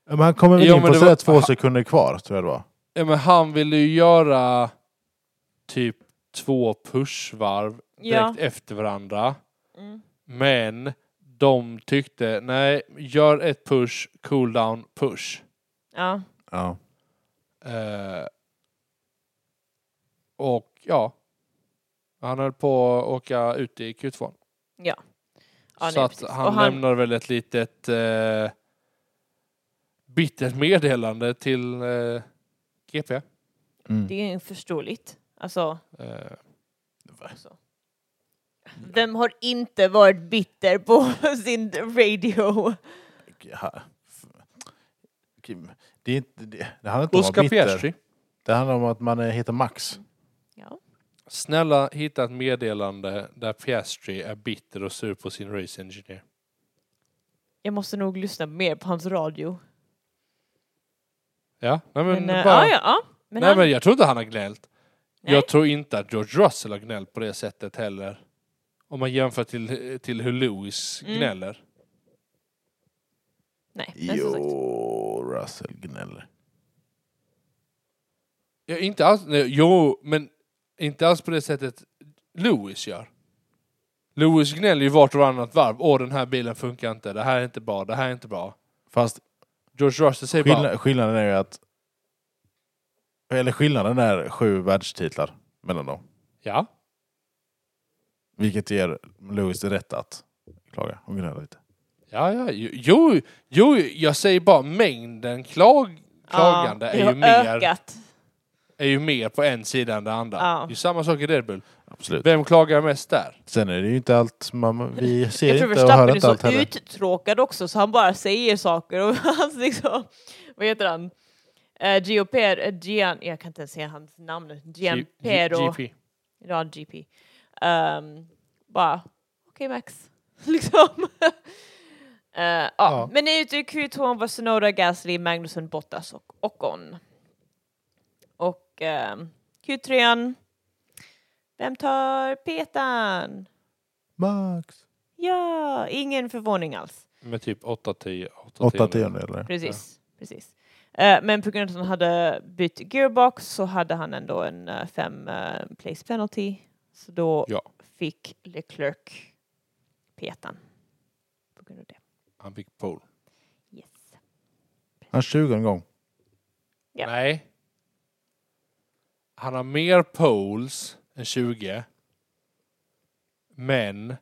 A: Men han kommer väl
C: Jo,
A: in
C: men
A: på
C: det
A: sådär
C: var-
A: två
C: ha-
A: sekunder kvar, tror jag det var.
C: Ja, men han ville ju göra typ två pushvarv
B: Ja.
C: direkt efter varandra.
B: Mm.
C: Men de tyckte, nej, gör ett push, cool down, push.
B: ja.
A: Ja.
C: Eh, och ja, han höll på att åka ut i Q2.
B: ja
C: så
B: nej,
C: att
B: precis.
C: han,
B: Och han-
C: lämnar väl ett litet eh, bittert meddelande till eh, GP.
A: Mm.
B: Det är ju förståeligt. Alltså,
C: Eh, Alltså.
B: vem har inte varit bitter på sin radio?
A: Ja. Kim, Det, är inte, det, det handlar inte om att
C: Oscar
A: vara bitter.
C: Piastri,
A: Det handlar om att man eh, heter Max.
B: Ja.
C: snälla hitta ett meddelande där Piastri är bitter och sur på sin race engineer.
B: Jag måste nog lyssna mer på hans radio.
C: Ja, nej men,
B: Men, eh,
C: bara,
B: ja, ja, ja. Men
C: nej,
B: han,
C: men jag tror inte han har gnällt.
B: Nej.
C: Jag tror inte att George Russell har gnällt på det sättet heller. Om man jämför till, till hur Lewis
B: Mm.
C: gnäller.
B: nej, men som sagt.
A: Jo, Russell gnäller.
C: Ja, inte alls, nej, jo, men inte alls på det sättet Lewis gör. Lewis gnäller ju vart och varannat varv. Åh, den här bilen funkar inte. Det här är inte bra. Det här är inte bra.
A: Fast
C: George Russell säger bara...
A: skillna, skillnaden är ju att... Eller skillnaden är sju världstitlar mellan dem.
C: Ja.
A: Vilket ger Lewis rätt att klaga och gnälla lite.
C: Ja, ja, ju- jo, jo, jag säger bara mängden klag, klagande
B: Ja,
C: är,
B: det
C: ju
B: har
C: mer,
B: Ökat.
C: är ju mer på en sida än det andra.
B: Ja.
C: Det är ju samma sak i Red Bull.
A: Absolut.
C: Vem klagar mest där?
A: Sen är det ju inte allt man... Vi
B: Jag
A: ser
B: tror
A: inte och hör
B: Verstappen är
A: inte
B: så
A: allt heller.
B: uttråkad också så han bara säger saker och hans liksom, vad heter han? Eh, Gio Per, eh, Gian, jag kan inte ens säga hans namn, Gian
C: G- G-
B: Pero,
C: GP.
B: ja GP. Ehm, bara, okej Max, liksom. Eh, ja.
C: Ja.
B: Men ute i Q2 var Sonoda, Gasly, Magnusson, Bottas och Ocon. Och ehm, Q3, vem tar petan?
A: Max!
B: Ja, ingen förvåning alls.
C: Med typ 8-10.
A: 8 tiondelar.
B: Precis, precis. Eh, men på grund av att han hade bytt gearbox så hade han ändå en 5 eh, place penalty Så då
C: Ja.
B: fick Leclerc petan. På grund av det.
C: Han fick pole.
B: Yes.
A: Han 20 en gång.
B: Ja.
C: Nej. Han har mer poles än 20. Men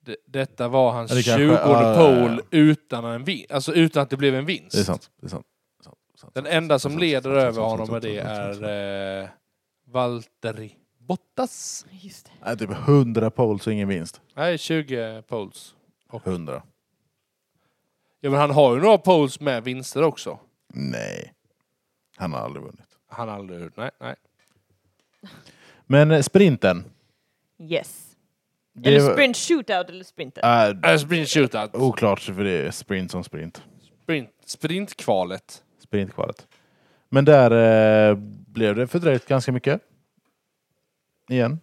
C: det, detta var hans
A: Ja, det
C: 20
A: kanske- ja, ja, ja.
C: pole utan, en vin, alltså utan att det blev en vinst.
A: Det är sant. Det är sant. Det är sant. Det är sant.
C: Den enda som
A: Sant,
C: leder
A: sant, sant,
C: över
A: sant,
C: honom
A: sant,
C: med det
A: sant, sant, sant.
C: är eh, Valtteri Bottas.
B: Just det.
A: Nej, typ 100 poles och ingen vinst.
C: Nej, 20 poles.
A: 100.
C: Ja, men han har ju några poles med vinster också.
A: Nej. Han har aldrig vunnit.
C: Han har aldrig... Nej, nej.
A: Men eh, sprinten.
B: Yes.
A: Det
B: eller
A: var-
B: sprint shootout eller sprinten.
A: Äh,
C: Äh, Sprint shootout.
A: oklart, för det är sprint som sprint.
C: Sprint, sprintkvalet.
A: Sprintkvalet. Men där eh, blev det fördröjt ganska mycket. Igen.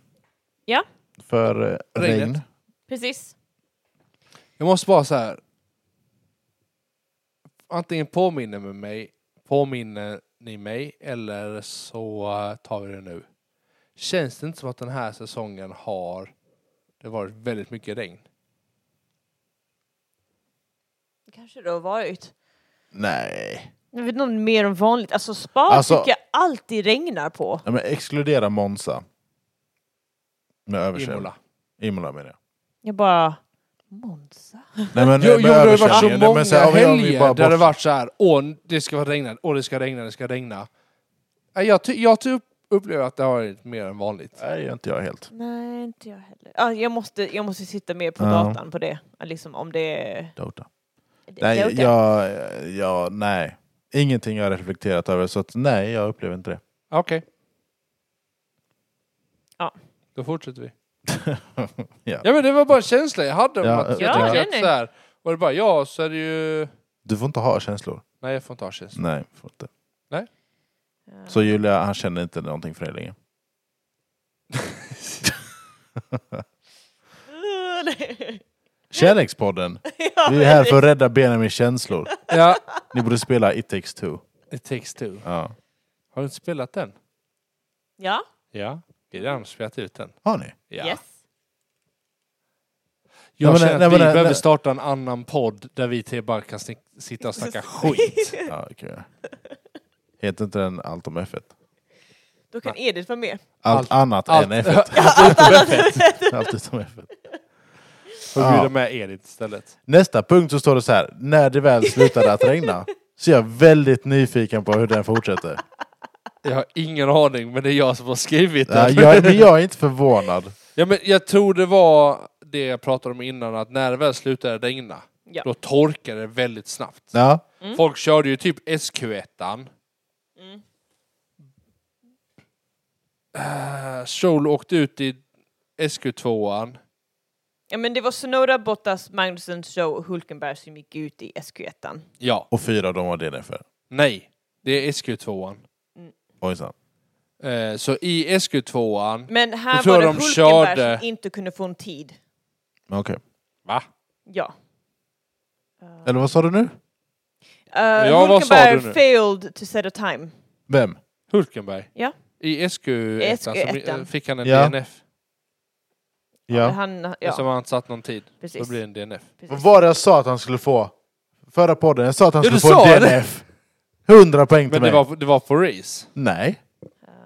B: Ja.
A: För eh,
C: Regnet.
A: regn.
B: Precis.
C: Jag måste bara så här. Antingen påminner med mig, påminner ni mig eller så eh, tar vi det nu. Känns det inte som att den här säsongen har det varit väldigt mycket regn?
B: Det kanske det har varit.
A: Nej.
B: Jag vet inte om det är mer än vanligt. Alltså spa
A: Alltså-
B: tycker jag alltid regnar på.
A: Ja, men exkludera Monza. Med översvämning. Imola.
C: Imola.
A: Imola menar jag.
B: Jag bara... Monza?
A: Nej, men, eh,
C: Jo, jo,
A: med
C: det har ju varit så
A: översvämning.
C: många
A: Men så här, om vi- om vi
C: helger
A: bara
C: där det
A: bort-
C: varit så här. Åh, det ska vara regna, åh, det ska regna, det ska regna. Nej, Jag, ty- jag typ upplever att det har varit mer än vanligt.
A: Nej, inte jag helt.
B: Nej, inte jag heller. Ah, jag, måste, jag måste sitta mer på
A: Ja.
B: datan på det. Ah, Liksom om det är...
A: Dota.
B: det-
A: Nej,
B: det är okej.
A: jag, jag, nej. Ingenting jag har reflekterat över, så att, nej, jag upplever inte det.
C: Okej.
B: Ja.
C: Då fortsätter vi.
A: Ja.
C: Ja men det var bara en känsla jag hade. om
A: Ja,
C: att
A: ja,
C: jag tyckte
B: nej,
C: att
B: nej.
C: så här, var det bara jag så är det ju...
A: Du får inte ha känslor.
C: Nej jag får inte ha känslor.
A: Nej, får inte.
B: Ja.
A: Så Julia, han känner inte någonting för dig längre. Kärlekspodden!
B: Ja,
A: Vi är här för att rädda Benjamins känslor.
C: Ja.
A: Ni borde spela It takes two.
C: It takes two.
A: Ja.
C: Har du inte spelat den?
B: Ja,
C: Ja. Vi har redan spelat ut den.
A: Har ni?
C: Ja.
B: yes.
C: Jag
A: Nej, men-
C: känner att
A: nej,
C: vi
A: men-
C: behöver
A: nej.
C: starta en annan podd där vi till bara kan snick- sitta och snacka skit.
A: Ja, det kan jag. Heter inte den Allt om F1?
B: Då kan Edith vara med.
A: Allt,
C: Allt-
A: annat
C: allt-
A: än F1. Allt utom F1.
C: Och
A: Ja.
C: bjuda med Edith istället.
A: Nästa punkt så står det så här. När det väl slutade att regna så är jag väldigt nyfiken på hur den fortsätter.
C: Jag har ingen aning men det är jag som har skrivit den.
A: Ja, jag, men jag är inte förvånad.
C: Ja, men jag tror det var det jag pratade om innan, att när det väl slutade regna,
B: Ja.
C: då torkade det väldigt snabbt.
A: Ja.
C: Folk körde ju typ SQ1.
B: Mm.
C: Uh, Stroll åkte ut i SQ2.
B: Ja, men det var Sonoda, Bottas, Magnussen, Show och Hulkenberg som gick ut i SQ1.
C: Ja,
A: Och fyra av dem var DNF.
C: nej, det är SQ2.
A: Ojsan.
C: Eh, så i SQ2,
B: Men här
C: Jag tror
B: var det
C: de
B: Hulkenberg
C: körde-
B: som inte kunde få en tid.
A: Men Okej.
C: va?
B: Ja.
A: Eller vad sa du nu?
B: Uh,
C: Ja, vad sa
B: Hulkenberg
C: du nu?
B: failed to set a time.
A: Vem?
C: Hulkenberg?
B: Ja.
C: I SQ1 så
B: SQ1.
C: eh, fick han en
A: Ja.
C: DNF,
A: Ja.
B: Han,
C: ja.
B: ja,
C: som han satt någon tid. Då
B: Precis.
C: blir det en DNF.
A: Vad
B: precis.
A: var det jag sa att han skulle få? Förra podden, jag sa att han
C: Ja, du
A: skulle få
C: sa
A: en
C: det.
A: DNF. 100 poäng till
C: Men det
A: mig.
C: var, det var på race.
A: Nej,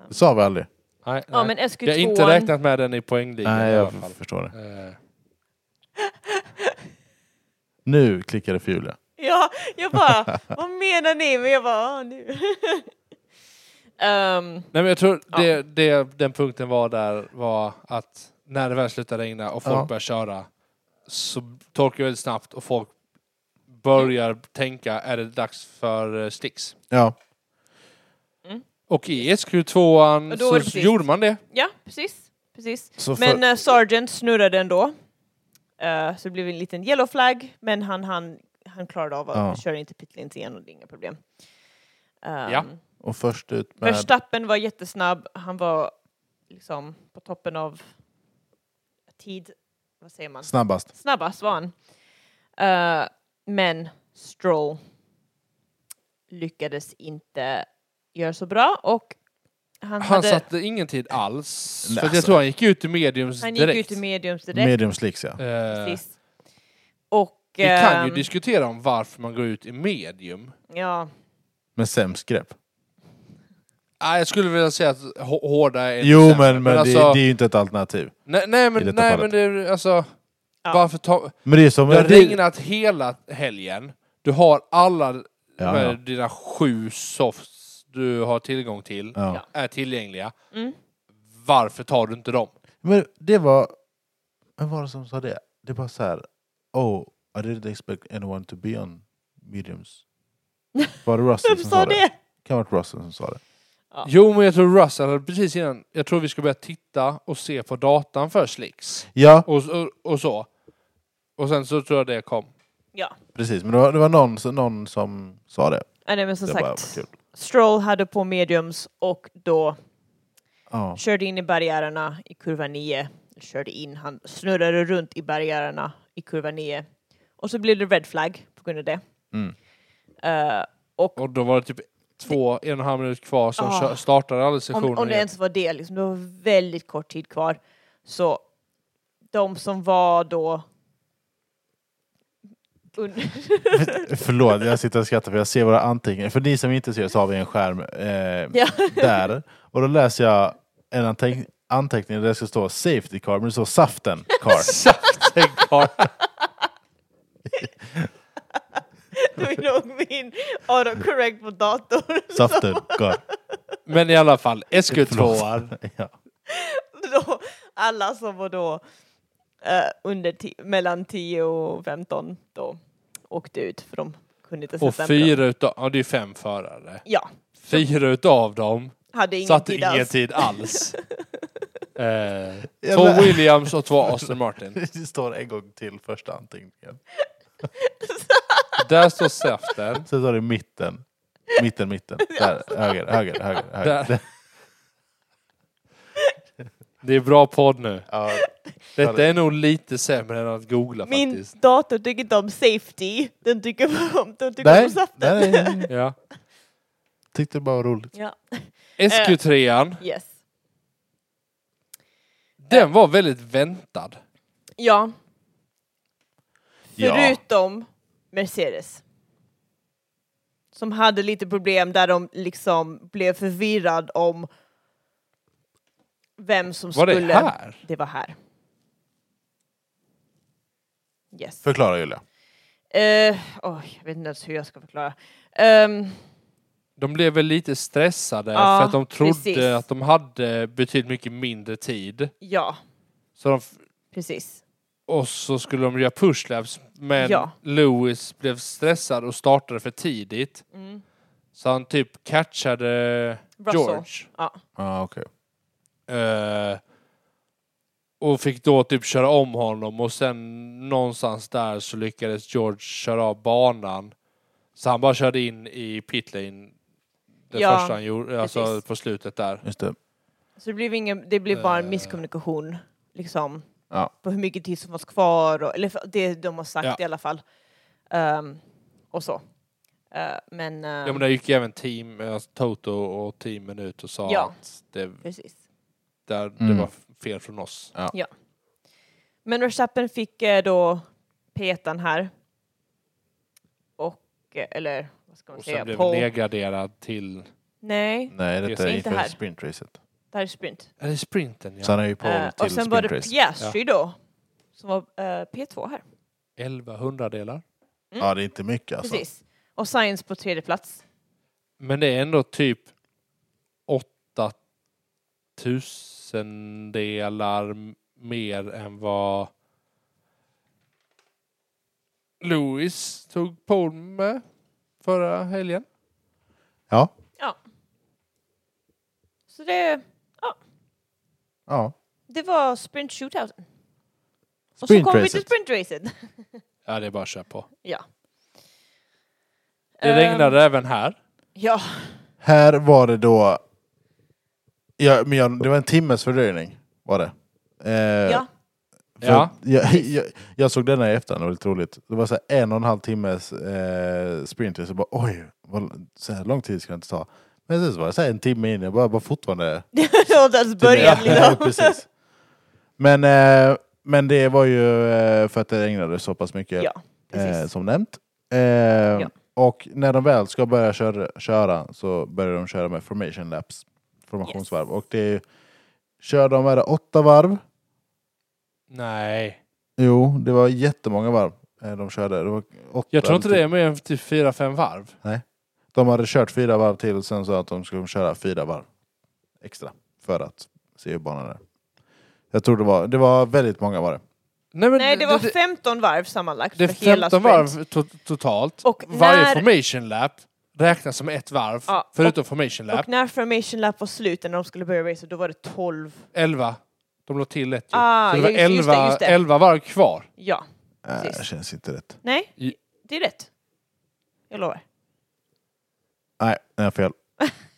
A: det sa vi aldrig.
C: Nej,
B: Ja,
C: nej.
B: men
C: Jag har inte
B: SQ2...
C: räknat med den i poängligan
A: Nej,
C: i alla
A: jag
C: fall.
A: förstår det.
C: Eh,
A: Nu klickar det för Julia.
B: Ja, jag bara, vad menar ni? Men jag bara, ah, nu. Ehm,
C: Nej men jag tror
B: Ja.
C: det, det, den punkten var där var att när det väl slutar regna och folk
A: Ja.
C: börjar köra så torkar det väldigt snabbt och folk börjar tänka är det dags för eh, sticks.
A: Ja.
C: Och i
B: Och
C: SQ2
B: då var det
C: så
B: precis.
C: gjorde man det.
B: ja, precis. precis.
A: Så för-
B: Men eh, Sargent snurrade ändå. Eh, så det blev en liten yellow flag, men han, han, han klarade av att
A: Ja.
B: köra inte pitlins igen och det är inga problem. Ehm,
C: Ja.
A: Och först ut med...
B: Verstappen var jättesnabb, han var liksom på toppen av tid, vad säger man?
A: Snabbast.
B: Snabbast var han. Eh, men Stroll lyckades inte göra så bra och Han,
C: Han
B: hade,
C: satte ingen tid alls.
A: Nej,
C: för att jag
A: alltså.
C: tror han gick ut i mediums
B: han gick
C: direkt.
B: ut i mediums direkt.
A: Medium slicks ja.
C: Eh,
B: precis. Och...
C: vi kan ju
B: ehm,
C: diskutera om varför man går ut i medium.
B: ja,
A: Med sämst grepp.
C: Nej, Ah, jag skulle vilja säga att hå- hårda är ett
A: Jo
C: exempel,
A: men, men
C: alltså-
A: det, det är ju inte ett alternativ.
C: nej, nej,
A: i
C: men,
A: detta
C: nej
A: fallet.
C: men det är alltså...
B: Ja.
C: Varför ta...
A: Men det är som...
C: Det har
A: Det,
C: regnat hela helgen. Du har alla
A: Ja,
C: med
A: ja.
C: dina sju softs du har tillgång till
A: ja.
C: är tillgängliga.
B: Mm.
C: Varför tar du inte dem?
A: Men det var... Vem var det som sa det? Det var så här... Oh, I didn't expect anyone to be on mediums. Var det Russell
B: vem
A: som
B: sa det?
A: kan ha varit Russell som sa det.
B: Ja.
C: Jo, men jag tror Russell hade precis innan... Jag tror vi ska börja titta och se på datan för Slicks.
A: Ja,
C: Och, och, och så. Och sen så tror jag det kom.
B: Ja.
A: precis. Men det var, det var någon, så- någon som sa det.
B: ja, nej men som
A: Det bara var
B: sagt.
A: kul.
B: Stroll hade på mediums och då
A: Ja.
B: körde in i barriärerna i kurva 9. Körde in, han snurrade runt i barriärerna i kurva 9. Och så blev det red flag på grund av det.
A: Mm.
B: Eh, och
C: Och då var det typ två, en och en halv minut kvar som
B: Ah.
C: kö- startade alla
B: om,
C: sessionerna
B: om det
C: igen.
B: ens var det, liksom, det var väldigt kort tid kvar. Så de som var då... Un-
A: För- Förlåt, jag sitter och skrattar för jag ser våra anteckningar. För ni som inte ser så har vi en skärm eh,
B: ja.
A: där. Och då läser jag en anteck- anteckning där det ska stå safety car, men det står saften car.
C: Saften kvar.
B: Det var ju nog min autocorrect på datorn.
A: Saften car.
C: Men i alla fall, SQ2.
A: Förlåt. Ja.
B: då, alla som var då eh, under ti- mellan 10 och 15 då åkte ut för de kunde inte
C: Och
B: sätta en bra-
C: fyra utav, ja det är fem förare.
B: Ja,
C: Fyra utav dem
B: hade ingen
C: satte
B: tid
C: ingen
B: alls.
C: tid alls. eh,
A: Jävla-
C: två Williams och två Aston Martin.
A: Det står en gång till första anteckningen.
C: Där står Saften.
A: Sen står det mitten. Mitten, mitten. Där, höger, höger, höger. höger.
C: Där. Det är bra podd nu.
A: Ja,
C: Detta är nog lite sämre än att googla
B: Min
C: faktiskt.
B: dator tycker inte om safety, den tycker bara om, den tycker
A: nej,
B: om saften.
A: nej, nej.
C: Ja.
A: Tyckte det bara var roligt.
B: Ja, Eh.
C: SQ3an,
B: yes.
C: den var väldigt väntad.
B: Ja,
A: Ja.
B: förutom Mercedes. Som hade lite problem där de liksom blev förvirrad om vem som
C: Var
B: skulle...
C: det här?
B: Det var här. Yes.
A: Förklara Julia.
B: Eh, oj, jag vet inte ens hur jag ska förklara. Ehm,
C: De blev väl lite stressade
B: Ja,
C: för att de trodde
B: precis.
C: att de hade betydligt mycket mindre tid.
B: ja,
C: Så de, f-
B: precis.
C: och så skulle de göra pushlaps men
B: Ja.
C: Lewis blev stressad och startade för tidigt.
B: Mm.
C: Så han typ catchade
B: Russell.
C: George.
B: Ja,
A: Ah, okay.
C: Eh, och fick då typ köra om honom och sen någonstans där så lyckades George köra av banan. Så han bara körde in i pitlane. Det
B: Ja,
C: första han gjorde, alltså
B: precis.
C: på slutet där.
A: Just det.
B: så det blev, ingen, det blev bara en
C: Eh.
B: misskommunikation. Liksom,
A: Ja.
B: På hur mycket tid som fanns kvar, och, eller det de har sagt
C: Ja.
B: i alla fall. Ehm, och så. Eh, men, eh,
C: Ja men där gick ju även team, alltså Toto och teamen ut och sa
B: Ja.
C: att det,
B: precis.
C: där, det
A: Mm.
C: var fel från oss.
B: Men Verstappen fick eh, då petan här. Och, eh, eller vad ska man
C: Och sen
B: säga,
C: blev
B: Paul.
C: nedgraderad till...
B: Nej,
A: Nej, detta
C: Just det.
A: är
B: Inte
A: inför
B: här.
A: sprintracet.
B: det här är sprint.
C: Är det sprinten ja?
A: Så han är ju på
B: Eh,
A: till
B: och sen var det
A: sprintrace.
B: Piastri då, som var eh, P2 här.
C: 11 hundradelar.
B: Mm.
A: Ja, det är inte mycket alltså.
B: Precis. Och Science på tredje plats.
C: Men det är ändå typ 8 tusendelar m- mer än vad Lewis tog pole med förra helgen.
A: Ja.
B: Så det,
A: ja.
B: det var sprint shootouten. Och så kom vi till
A: Sprintracet.
B: sprintracet.
C: Ja, det är bara att köra på.
B: ja.
C: Det
B: Ehm,
C: regnade även här.
B: Ja,
A: Här var det då... Ja, men jag, det var en timmes fördröjning. Var det. Eh,
B: ja.
A: För
C: Ja.
A: att jag, jag, jag såg denna i efterhand, det var lite roligt. Det var så här en och en halv timmes eh, sprint, så bara oj, vad, så här lång tid ska det inte ta. Men sen så var jag så här en timme in, jag bara, bara fortfarande...
B: Det har inte ens börjat
A: Ja,
B: liksom.
A: precis. Men, eh, men det var ju eh, för att det regnade så pass mycket
B: Ja,
A: eh,
B: precis.
A: som nämnt. Eh, Och när de väl ska börja köra, köra så börjar de köra med formation laps, formationsvarv. Och det är, kör de var det åtta varv?
C: Nej.
A: Jo, det var jättemånga varv eh, de körde. Det var åtta
C: Jag tror inte
A: eller
C: det är mer än typ fyra fem varv.
A: De hade kört fyra varv till och sen sa att de skulle köra fyra varv extra för att se hur banan är. Jag tror det var, det var väldigt många var det.
C: Nej, men
B: Nej, det var
C: det,
B: 15 varv sammanlagt
C: det är
B: för hela
C: 15
B: sprint.
C: varv to- totalt.
B: Och
C: Varje
B: när-
C: formation lap räknas som ett varv,
B: Ja,
C: förutom formation lap.
B: Och när formation lap var slut, när de skulle börja race, då var det 12.
C: 11. De låg till ett ju.
B: Ah,
C: Så det var
B: just- just det,
C: 11,
B: just det.
C: 11 varv kvar.
B: Ja,
A: Äh,
B: Precis.
A: det känns inte rätt.
B: nej,
C: I-
B: det är rätt. Jag lovar.
A: Nej, jag har fel.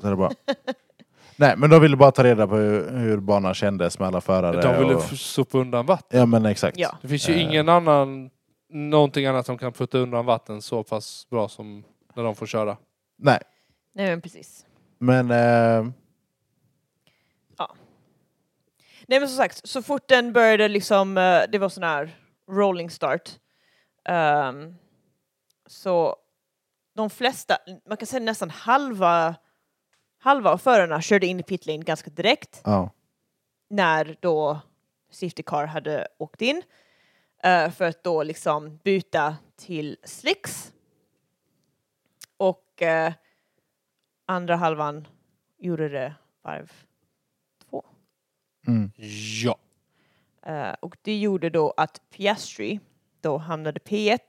A: Så är det bra. Nej, men de ville bara ta reda på hur, hur banan kändes med alla förare.
C: De ville
A: och...
C: f- sopa undan vatten.
A: Ja, men exakt.
B: Ja.
C: Det finns ju
A: Eh.
C: ingen annan, någonting annat som kan putta undan vatten så pass bra som när de får köra.
A: Nej,
B: Nej, men precis.
A: men... Eh,
B: Nej, men som sagt, så fort den började liksom, eh, det var sån här rolling start. Ehm, så de flesta, man kan säga nästan halva, halva av förarna körde in i pit lane ganska direkt.
A: ja.
B: när då Safety Car hade åkt in eh, för att då liksom byta till slicks. Och eh, andra halvan gjorde det varv två.
A: Mm.
C: Ja.
B: Eh, och det gjorde då att Piastri då hamnade P1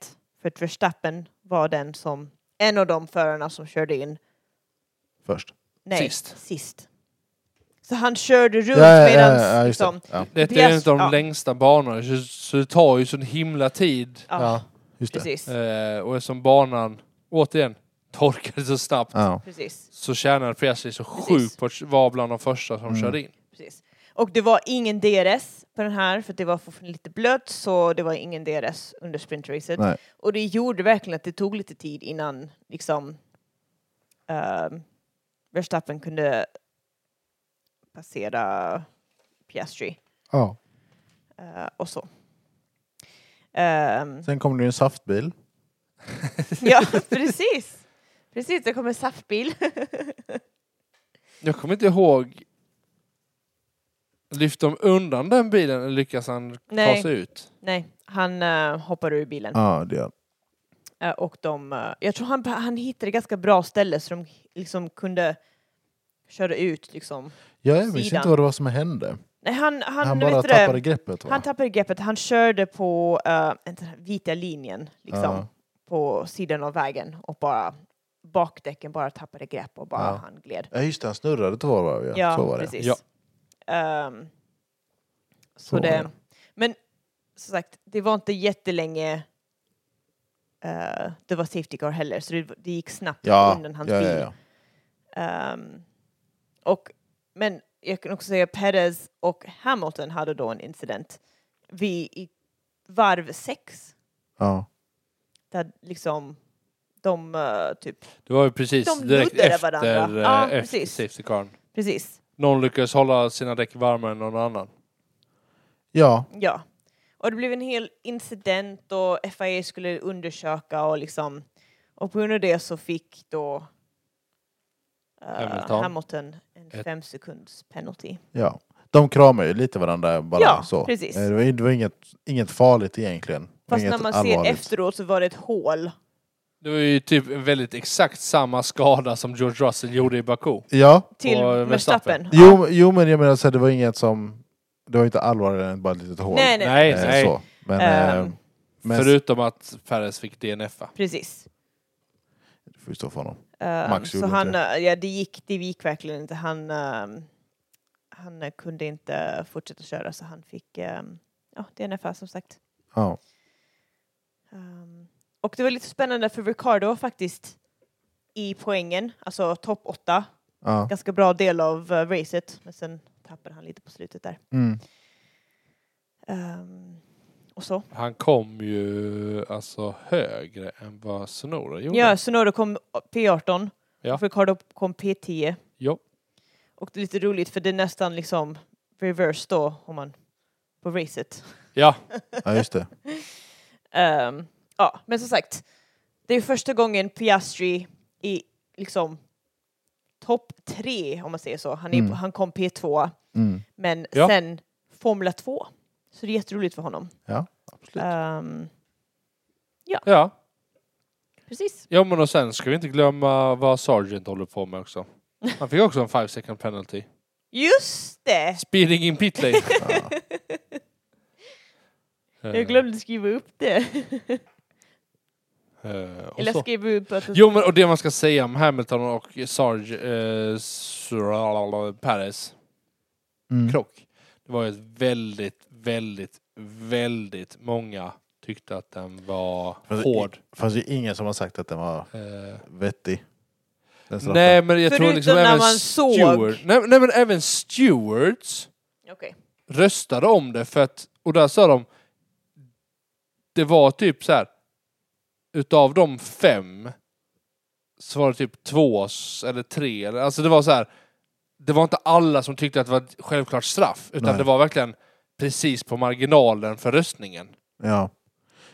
B: för att Verstappen var den som en av de förarna som körde in
A: Först.
B: nej,
C: Sist.
B: sist. Så han körde runt medan
A: just det.
B: liksom,
A: Ja,
C: Det är en av
B: Piast-
C: de
B: ja.
C: längsta banorna, så- så det tar ju sån himla tid.
B: ja,
A: ja, just det.
B: precis,
C: Eh, och eftersom banan, återigen, torkade så snabbt
A: Ja.
B: precis.
C: så tjänade Presley så
B: Precis.
C: sjukt på att vara bland de första som
A: Mm.
C: körde in.
B: Precis. Och det var ingen DRS på den här för att det var fortfarande lite blött så det var ingen DRS under sprintracet.
A: Nej.
B: Och det gjorde verkligen att det tog lite tid innan liksom ehm, Verstappen kunde passera Piastri
A: Ja.
B: eh, och så. Ehm,
A: Sen kom det ju en saftbil.
B: Mm. ja, precis. Precis, det kom en saftbil.
C: Jag kommer inte ihåg. Lyfte de undan den bilen eller lyckas han
B: Nej.
C: ta sig ut?
B: Nej, han eh, hoppade ur bilen.
A: Ja, det gör
B: Eh, Och de, eh, jag tror han, han hittade ganska bra ställe så de liksom kunde köra ut liksom.
A: ja, Jag minns
B: Sidan.
A: inte vad det var som hände.
B: Nej, han, han,
A: Han,
B: vet
A: bara
B: du det?
A: tappade greppet. Va?
B: Han tappade greppet. Han körde på eh, inte den här vita linjen liksom
A: Ja.
B: på sidan av vägen och bara bakdäcken bara tappade grepp och bara
A: Ja.
B: han gled.
A: Ja, just det. Han snurrade två varv. Ja.
B: Ja,
A: så var det.
B: precis.
C: Ja.
B: Ehm, så
A: Så var
B: det,
A: det.
B: men som sagt, det var inte jättelänge eh, det var safety car heller, så det, det gick snabbt
A: Ja,
B: undan
A: ja,
B: hans
A: ja,
B: bil.
A: ja.
B: Ehm, och, men jag kan också säga Perez och Hamilton hade då en incident vid i varv sex.
A: ja.
B: Där liksom de eh, typ,
C: Det var ju precis
B: De
C: direkt
B: nuddade
C: efter,
B: varandra.
C: eh,
B: Ja,
C: efter
B: precis.
C: safety car.
B: precis,
C: Någon lyckades hålla sina däck varmare än någon annan.
A: ja.
B: ja. Och det blev en hel incident och FIA skulle undersöka och liksom, och på grund av det så fick då eh,
C: Hamilton.
B: Hamilton en
C: Ett-
B: fem sekunds penalty.
A: Ja. De kramar ju lite varandra bara
B: Ja,
A: så.
B: precis.
A: Eh, Det var, det var inget, inget farligt egentligen. Det var
B: Fast
A: inget
B: när man ser
A: allvarligt.
B: efteråt så var det ett hål.
C: Det var ju typ en väldigt exakt samma skada som George Russell gjorde i Baku.
A: Ja.
B: Till
C: Och Verstappen.
B: Verstappen.
A: Jo, jo, men jag menar så här, det var inget som... Det var inte allvarligt, än bara ett litet hål.
B: Nej, nej, nej.
C: Nej,
A: Eh,
C: nej.
A: Så. Men,
B: Ehm,
A: eh, men
C: Förutom att Perez fick DNFa.
B: Precis.
A: det får ju stå för honom.
B: Ehm,
A: Max
B: så
A: gjorde
B: han,
A: inte
B: eh, ja, det, gick, det gick verkligen inte. Han, ehm, han eh, kunde inte fortsätta köra så han fick um, ja, DNFA som sagt.
A: Ja.
B: Ehm, och det var lite spännande för Ricardo var faktiskt i poängen, alltså topp 8,
A: ja.
B: ganska bra del av eh, racet, men sen tappade han lite på slutet där.
A: Mm.
B: Ehm, och så.
C: Han kom ju alltså högre än vad Sonora gjorde.
B: Ja, Sonoda kom P18
C: Ja.
B: eh, Och för Cardo kom P10.
C: Ja.
B: Och det är lite roligt för det är nästan liksom reverse då, om man, på racet.
C: Ja,
A: Ja, just det.
B: Ehm, ja, men som sagt, det är första gången Piastri i liksom topp tre, om man säger så. Han, är,
A: Mm.
B: på- han kom P2,
A: Mm.
B: men
C: Ja.
B: sen Formula 2. Så det är jätteroligt för honom.
A: Ja, absolut.
B: Ehm,
C: ja.
B: precis.
C: Ja men och sen ska vi inte glömma vad Sargent håller på med också. Han fick också en 5 second penalty.
B: Just det!
C: Speeding in pit lane.
A: Ja.
B: Jag glömde skriva upp det.
C: Eh, eh, och
B: Eller
C: så.
B: skriva upp att...
C: Jo men och det man ska säga om Hamilton och Sarge eh, Sr- Perez
A: Mm.
C: krock. Det var ju ett väldigt, väldigt, väldigt många tyckte att den var
A: Fast-
C: hård.
A: Fanns ju ingen som har sagt att den var
C: Eh,
A: vettig. Den straffen.
C: nej men jag tror
B: Förutom
C: liksom
B: när
C: även
B: man såg.
C: Stewart. Nej, nej men även Stewarts
B: Okej.
C: röstade om det för att, och där sa de, det var typ så här, utav de fem så var det typ två s- eller tre, eller- alltså det var så här, det var inte alla som tyckte att det var ett självklart straff, utan
A: Nej.
C: det var verkligen precis på marginalen för röstningen.
A: Ja.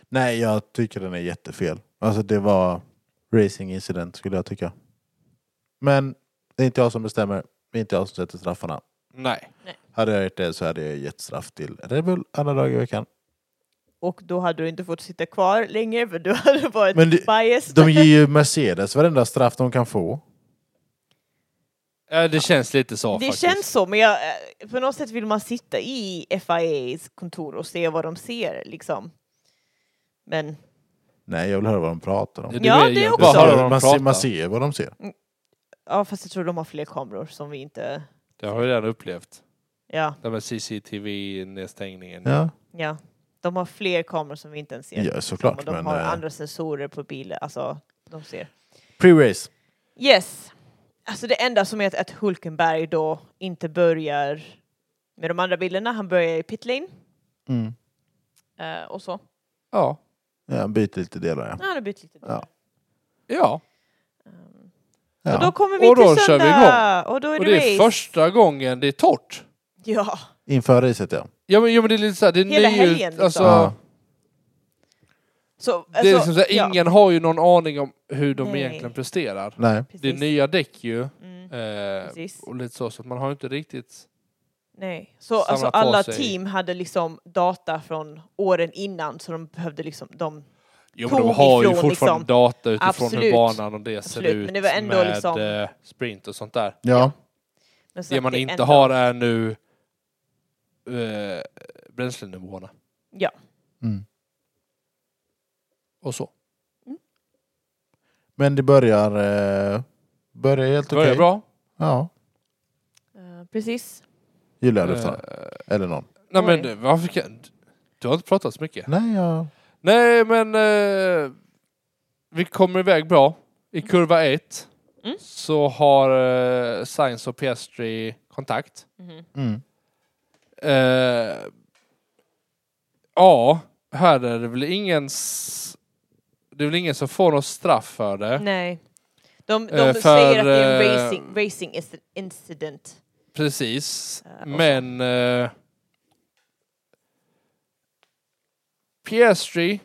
A: Nej, jag tycker den är jättefel. Alltså det var racing incident skulle jag tycka. Men det är inte jag som bestämmer. Det är inte jag som sätter straffarna.
C: Nej.
A: Hade jag gjort det så hade jag gett straff till Red Bull alla dagar i veckan.
B: Och då hade du inte fått sitta kvar länge för du hade varit
A: Men det-
B: biased.
A: De ger ju Mercedes varenda straff de kan få.
C: Eh, Det känns lite så
B: det
C: faktiskt.
B: känns så, men jag, eh, på något sätt vill man sitta i FIAs kontor och se vad de ser liksom. Men
A: Nej, jag vill höra vad de pratar om.
C: Du
B: Ja,
C: är
B: det
C: egentligen-
B: också.
A: Jag
C: Vad
A: sa
C: har
A: det,
C: de
A: man,
C: pratat?
A: ser, man ser vad de ser.
B: ja, fast jag tror de har fler kameror som vi inte...
C: Det har vi redan upplevt.
B: Ja,
C: Det med CCTV-nedstängningen.
A: Ja,
B: ja. De har fler kameror som vi inte ens ser. Liksom,
A: ja såklart.
B: och de
A: Men,
B: har
A: eh,
B: andra sensorer på bilen, alltså de ser.
A: Pre-race.
B: Yes. Alltså det enda som är att, att Hulkenberg då inte börjar med de andra bilarna, han börjar i pitlane
A: Mm.
B: eh, och så.
C: Ja.
A: Ja, byter lite delar ja.
B: Ja, han har bytt lite.
A: Ja.
C: ja.
B: Um, Och då
A: ja.
B: kommer vi
C: Och då
B: till
C: kör vi
B: söndag! Och då är
C: Och
B: det,
C: det är
B: race.
C: första gången det är torrt.
B: Ja,
A: Inför racet ja.
C: Ja men, ja, men det är lite såhär, det är
B: Hela
C: nyut,
B: helgen, liksom.
C: alltså,
A: Ja.
B: så... Alltså,
C: Det är liksom såhär, ingen har ju någon aning om hur de
B: Nej.
C: egentligen presterar.
A: Nej.
B: Ja,
C: Det är
B: precis.
C: nya däck ju,
B: Mm,
C: eh,
B: precis.
C: och lite så, så att man har inte riktigt...
B: Nej. Så
C: samla
B: alltså,
C: på
B: alla
C: sig.
B: team hade liksom data från åren innan så de behövde liksom... De,
C: Jo
B: Tog
C: men de har ju
B: ifrån,
C: fortfarande
B: liksom.
C: data utifrån hur
B: Absolut.
C: banan och det ser
B: Absolut,
C: ut
B: men det var ändå
C: med
B: liksom-
C: eh, sprint och sånt där.
A: Ja.
B: men så
C: det
B: att
C: man inte
B: ändå-
C: har är nu eh, bränslenivåerna
B: Ja.
A: Mm.
C: och så.
A: Men det börjar, eh, börjar helt
C: Det
A: okej.
C: börjar bra.
A: Ja,
B: Eh, precis.
A: Julia
C: Eh,
A: Löfstrand. Eller någon.
C: nej men
B: Oj.
C: du, varför kan... Du har inte pratat så mycket.
A: Nej, jag...
C: Nej, men eh, vi kommer iväg bra. I kurva 1
B: Mm.
C: så har eh, Sainz och Piastri kontakt.
B: Mhm.
A: Mm.
C: Eh, ja, här är det väl ingen... s- Det är väl ingen som får något straff för det.
B: Nej. De, de
C: Eh, för,
B: säger att det är en
C: eh,
B: racing, racing is- incident.
C: Precis.
B: Eh, och så.
C: Men... Eh, Piastri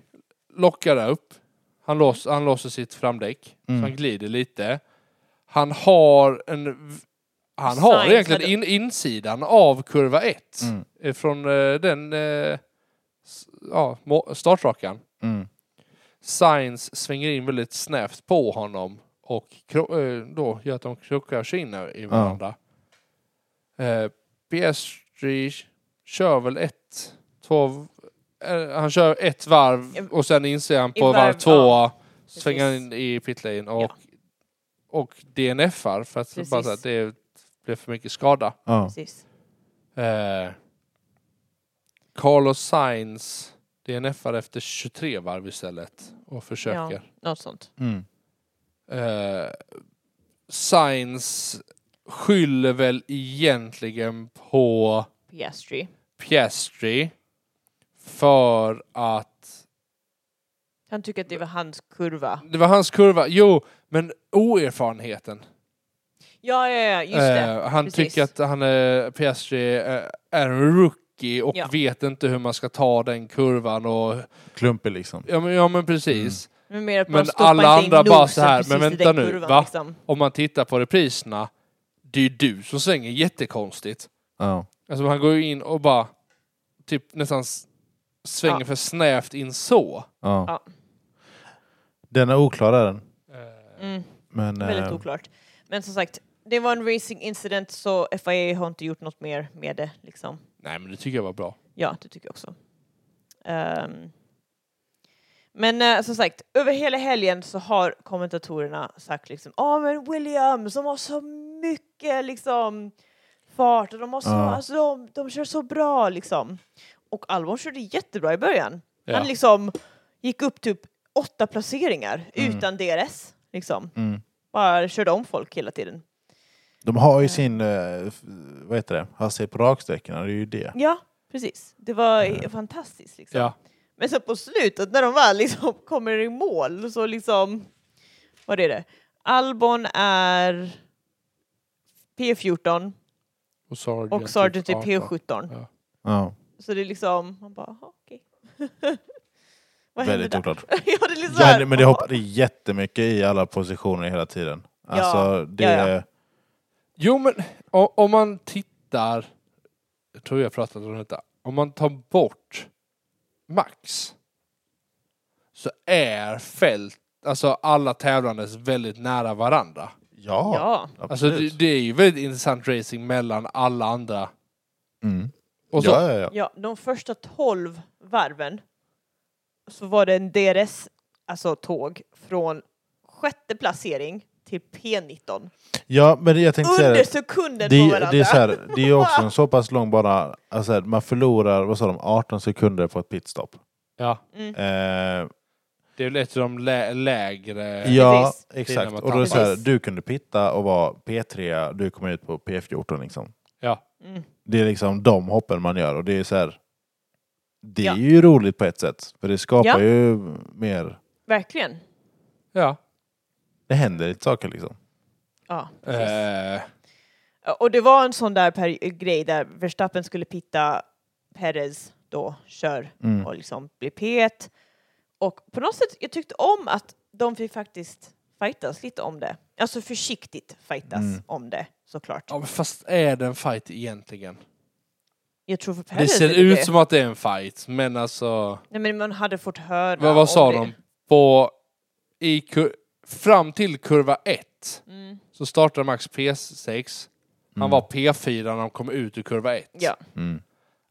C: lockar upp. Han, lås, han låser sitt framdäck.
A: Mm.
C: Så han glider lite. Han har en... v- Han har
B: Sainz
C: egentligen
B: hade-
C: in, insidan av kurva 1.
A: Mm.
C: Från eh, den eh, s- ja, må- startrakan.
A: Mm.
C: Sainz svänger in väldigt snävt på honom och kro- eh, då gör att de krockar sig in i varandra. Eh, Piastri kör väl ett, två, v- eh, han kör ett varv och sen inser han
B: I
C: på varv,
B: varv,
C: två
B: ja.
C: svänger han
B: Precis.
C: in i pitlane och,
B: Ja.
C: och DNFar för att
B: Precis.
C: bara så här, det blev för mycket skada.
A: Ja.
B: Precis.
C: Eh, Carlos Sainz DNFar efter 23 varv istället och försöker.
B: Något sånt.
A: Mm.
C: Eh, Sainz skyller väl egentligen på
B: Piastri.
C: Piastri för att
B: Han tycker att det var hans kurva.
C: det var hans kurva. Jo, Men oerfarenheten.
B: Ja, ja, ja, just det.
C: Eh, han
B: Precis.
C: tycker att han är, PSG eh, är en rookie och
B: Ja.
C: vet inte hur man ska ta den kurvan och...
A: Klumpig liksom.
C: Ja men, ja, men precis.
B: Men, mer att
C: men
B: man stoppar
C: alla
B: inte in
C: andra bara
B: nosen
C: så här,
B: precis
C: men
B: i
C: vänta
B: den
C: nu,
B: kurvan,
C: va?
B: Liksom.
C: Om man tittar på repriserna, det är ju du som svänger jättekonstigt.
A: Ja.
C: Alltså han går ju in och bara typ nästan s- svänger
B: Ja.
C: för snävt in så.
A: Ja.
B: Ja.
A: Den är oklar är den.
B: Mm,
A: Men,
B: väldigt
A: eh,
B: oklart. Men som sagt, det var en racing incident så FIA har inte gjort något mer med det. Liksom.
C: Nej men det tycker jag var bra.
B: Ja, det tycker jag också. Ehm, men eh, som sagt, över hela helgen så har kommentatorerna sagt liksom Ja men Williams, de har så mycket liksom fart och de har så,
A: Ja.
B: alltså, de, de kör så bra liksom. Och Albon körde jättebra i början.
C: Ja.
B: Han liksom gick upp typ åtta placeringar utan DRS liksom.
A: Mm.
B: Bara körde om folk hela tiden.
A: De har ju sin, eh, f- vad heter det, hastighet på raksträckorna, det är ju det.
B: Ja, precis. Det var eh, fantastiskt liksom.
C: Ja.
B: Men sen på slutet när de väl liksom kommer i mål så liksom... Vad är det? Albon är P14
C: Och Sargent,
B: och Sargent typ
A: typ
B: är
C: 18.
B: P17.
C: Ja.
A: Ja,
B: Så det är liksom... Man bara, "Jaha, okej. vad händer
A: väldigt
B: där?
A: oklart.
B: ja, det är liksom så
A: Ja,
B: här,
A: men det
B: "Jaha."
A: hoppade jättemycket i alla positioner hela tiden. Alltså, det...
B: ja, ja.
C: Jo men o- om man tittar, jag tror jag pratat om detta, om man tar bort Max så är fält, alltså alla tävlandes väldigt nära varandra.
A: Ja,
B: Ja.
C: Alltså
A: absolut.
C: det, det är ju väldigt intressant racing mellan alla andra.
A: Mm.
C: Och så,
A: ja, ja, ja.
B: Ja, de första 12 varven så var det en DRS, alltså tåg, från sjätte placering till P19.
A: ja, men jag tänkte säga
B: Under
A: det.
B: sekunden på
A: Det,
B: varandra.
A: det är så här, det är ju också en så pass lång bana, alltså här, man förlorar vad sa de, 18 sekunder på ett pitstop.
C: ja,
B: Mm.
A: Eh,
C: det är väl ett av de lä- lägre...
A: ja,
B: Precis.
C: Det är när
A: exakt.
C: man
A: Och då är det så här,
B: tappar.
A: du kunde pitta och vara P3, du kom ut på P14 liksom.
C: Ja.
B: Mm.
A: Det är liksom de hoppen man gör och det är så här, det är
B: Ja.
A: ju roligt på ett sätt, för det skapar
B: Ja.
A: ju mer,
B: Verkligen.
C: ja.
A: det händer lite saker liksom.
B: Ja, precis.
C: Eh,
B: Och det var en sån där per- grej där Verstappen skulle pitta Perez då kör
A: Mm.
B: och liksom blir P1. Och på något sätt, jag tyckte om att de fick faktiskt fightas lite om det. Alltså försiktigt fightas
A: Mm.
B: om det såklart.
C: ja, men fast är det en fight egentligen?
B: Jag tror för
C: Det
B: Perez är
C: ser
B: det
C: ut
B: det.
C: som att det är en fight, men alltså...
B: Nej men man hade fått höra
C: Vad, vad sa
B: om det.
C: de? På, i kur, fram till kurva 1
B: Mm.
C: så startade Max P6. Han var P4 när han kom ut ur kurva 1.
B: Ja.
A: Mm.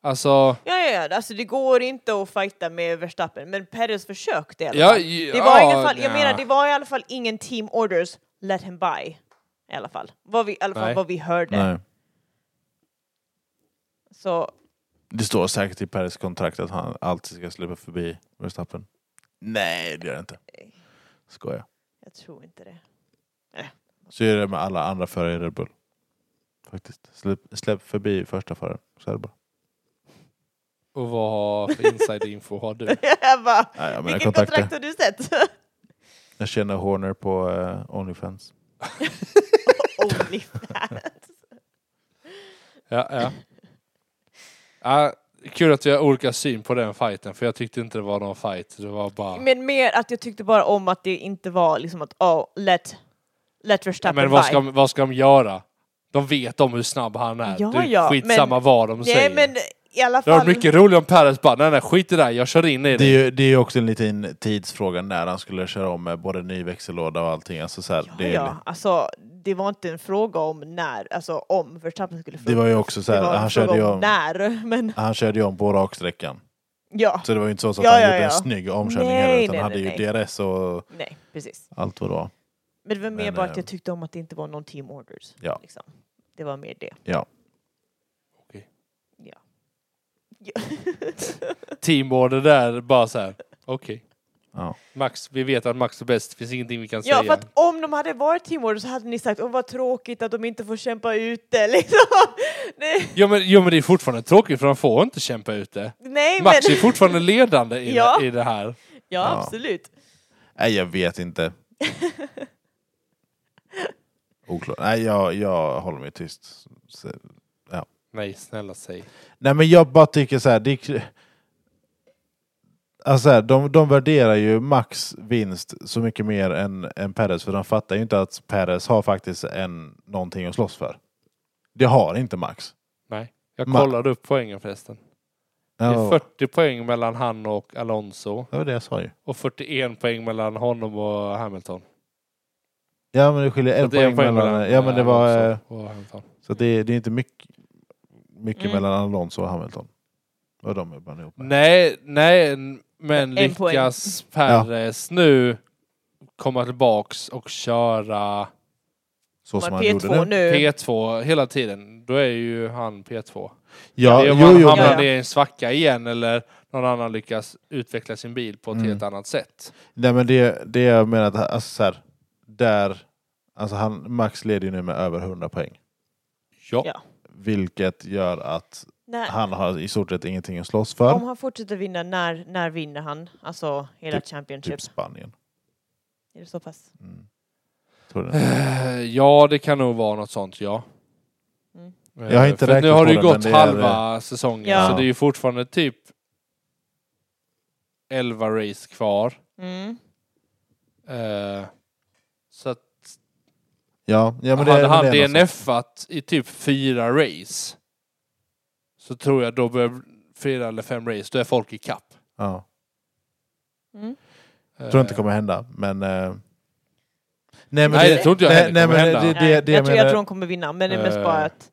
C: Alltså...
B: Ja, ja, ja, alltså det går inte att fighta med Verstappen, men Perez försökte i alla
C: Ja,
B: fall.
C: ja,
B: Det var i alla fall, jag
C: ja.
B: menar, det var i alla fall ingen team orders, let him by. I alla fall, vad vi, i alla fall
C: Nej.
B: vad vi hörde.
A: Nej.
B: Så
A: Det står säkert i Peres kontrakt att han alltid ska släppa förbi Verstappen. Nej, det gör det inte. Skojar.
B: jag tror inte det.
A: Så är det med alla andra förare i Red Bull. Faktiskt. Släpp, släpp förbi första föraren, så är det bara.
C: Och vad för inside-info har du?
B: jag bara,
A: Nej, jag menar
B: vilken
A: kontakter.
B: kontrakt har du sett?
A: Jag känner Horner på eh, Onlyfans.
B: Only fans.
C: Ja, ja. ja, kul att vi har olika syn på den fighten, för jag tyckte inte det var någon fight. Det var bara...
B: Men mer att jag tyckte bara om att det inte var liksom att, oh, let, let
C: Ja,
B: Verstappen
C: men vad
B: by.
C: ska, vad ska de göra? De vet om hur snabb han är.
B: Ja,
C: det är
B: ja,
C: skitsamma
B: men-
C: vad de säger.
B: Nej, men i alla
C: Det var
B: fall.
C: mycket roligare om Perez bara, nej, nej skit i det där, jag kör in i
A: Det
C: det.
A: är ju det är ju också en liten tidsfråga när han skulle köra om med både ny växellåda och allting. Alltså, så här,
B: Ja,
A: det, är-
B: ja. Alltså, det var inte en fråga om när, alltså om Verstappen skulle
A: det var ju också så
B: det var
A: här,
B: en
A: han
B: fråga
A: körde, ju
B: om
A: om,
B: när, men
A: han körde ju om på raksträckan.
B: ja.
A: Så det var ju inte så, så att
B: Ja,
A: han
B: ja,
A: gjorde
B: ja.
A: en snygg omkörning
B: Nej,
A: heller, utan
B: nej,
A: han hade
B: nej,
A: ju DRS och
B: Nej, precis.
A: allt vad det var.
B: Men det var mer
A: Men,
B: bara
A: eh,
B: att jag tyckte om att det inte var någon team orders.
A: Ja.
B: Liksom. Det var mer det.
A: Ja.
C: Okej.
B: Ja.
C: Teamorder där, bara så här. okej.
A: Ja.
C: Max, vi vet att Max är bäst, det finns ingenting vi kan
B: ja, för
C: säga.
B: att om de hade varit team orders så hade ni sagt åh vad tråkigt att de inte får kämpa ut det liksom. Nej,
C: Jo men, jo men det är fortfarande tråkigt för han får inte kämpa ut det.
B: nej men.
C: Max är fortfarande ledande i,
B: Ja.
C: i det här.
B: Ja, absolut.
A: Nej, jag vet inte. Oklart. Nej, jag, jag håller mig tyst. Så-
C: Nej, snälla säg.
A: Nej men jag bara tycker så här, det är... kr- Alltså så här, de, de värderar ju Max vinst så mycket mer än, än Perez för de fattar ju inte att Perez har faktiskt en, någonting att slåss för. Det har inte Max.
C: Nej. Jag
A: Ma-
C: kollade upp poängen förresten. Det är 40 poäng mellan han och Alonso
A: det var det jag sa ju.
C: och 41 poäng mellan honom och Hamilton.
A: Ja men det skiljer
C: Så
A: en
C: det är
A: poäng mellan... Ja men det var... eh,
C: Alonso och Hamilton.
A: Så det, är- det är inte mycket, mycket
B: Mm.
A: mellan Alonso och Hamilton. Och de är blandade ihop.
C: Nej, nej, n- men
B: En poäng.
C: lyckas Perez nu komma tillbaks och köra
A: Så som han gjorde
B: P2
A: nu.
B: nu.
C: P2 hela tiden, då är ju han P2.
A: Ja,
C: det är
A: jo,
C: om han
A: jo,
C: hamnar
A: men,
B: Ja, ja.
C: i en svacka igen eller någon annan lyckas utveckla sin bil på ett
A: Mm.
C: helt annat sätt.
A: nej, men det, det jag menar, att, alltså, så här, där, alltså han, Max leder ju nu med över 100 poäng.
C: Ja.
B: Ja.
A: Vilket gör att
B: När,
A: han har i stort sett ingenting att slåss
B: om
A: för.
B: han fortsätter vinna, när, när vinner han? Alltså hela
A: Typ-
B: Championship?
A: Typ Spanien.
B: Är det så pass?
A: Mm. Tror du?
C: Eh, Ja, det kan nog vara något sånt, ja.
B: Mm.
C: Eh,
A: Jag har inte
C: för att nu
A: räknat på
C: har det ju
A: det,
C: gått
A: men det är-
C: halva säsongen,
B: Ja.
C: så det är ju fortfarande typ 11 race kvar.
B: Mm.
C: Eh, Så att
A: Ja, ja, men det,
C: hade
A: men
C: han
A: det är något sånt.
C: DNFat i typ fyra race så tror jag då börjar fyra eller fem race, då är folk i kapp.
A: Ja.
B: Mm.
A: Tror inte det kommer hända, men... eh, Nej,
C: Nej, det tror inte jag
A: nej,
C: heller
A: nej,
C: kommer
A: men
C: hända.
A: det,
B: Nej,
A: det, det
B: jag, tror, jag
A: menar-
B: tror de kommer vinna, men det är mest
C: Eh.
B: bara att...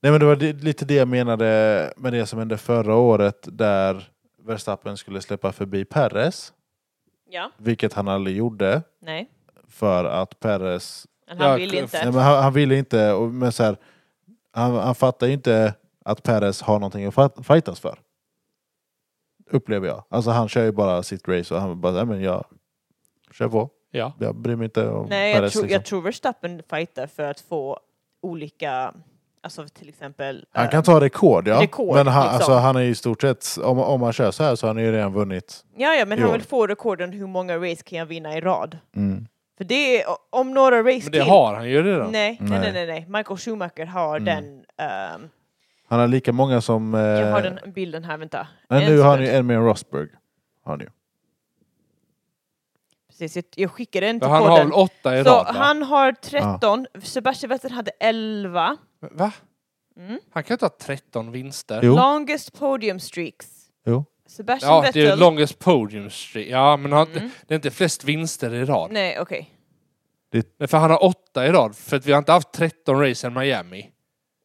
A: Nej men det var det- lite det jag menade med det som hände förra året där Verstappen skulle släppa förbi Perez,
B: Ja,
A: vilket han aldrig gjorde
B: nej.
A: för att Perez...
B: Men han
C: Ja,
B: vill
C: k-
B: inte.
A: Nej, men han, han ville inte, och, men så här, han, han fattar ju inte att Perez har någonting att fa- fightas för. Upplever jag. Alltså han kör ju bara sitt race och han bara, nej men jag kör på.
C: Eh, Ja.
A: Jag bryr mig inte om
B: Nej, jag,
A: Perez.
B: tror,
A: liksom.
B: jag tror Verstappen fightar för att få olika, alltså till exempel...
A: Han
B: eh,
A: kan ta rekord ja,
B: Rekord,
A: men han,
B: liksom.
A: alltså, han är ju i stort sett, om, om han kör så här så har han ju redan vunnit.
B: Ja, ja, men han
A: Jo.
B: vill få rekorden hur många race kan jag vinna i rad?
A: Mm.
B: För det är, om några race
C: Men det har han ju redan.
B: Nej, nej, nej,
A: Nej.
B: nej, nej. Michael Schumacher har
A: Mm.
B: den... ehm,
A: Han har lika många som... Eh,
B: jag har den bilden här, vänta.
A: nej,
B: En
A: nu har han
B: sekund.
A: ju en mer än Rosberg. Har han ju.
B: Precis, jag, jag skickade den
C: Ja,
B: till
C: han har
B: podden.
C: väl åtta i
B: Så
C: rad va?
B: han har 13, Sebastian Vettel hade 11.
C: va?
B: Mm.
C: Han kan ju inte ha 13 vinster.
A: Jo.
B: Longest podium streaks.
A: Jo.
B: Sebastian
C: Ja, det
B: Vettel...
C: är ju longest podium streak. Ja, men han,
B: Mm.
C: det är inte flest vinster i rad.
B: Nej, okej.
C: Nej. För han har åtta i rad, för att vi har inte haft 13 race än Miami.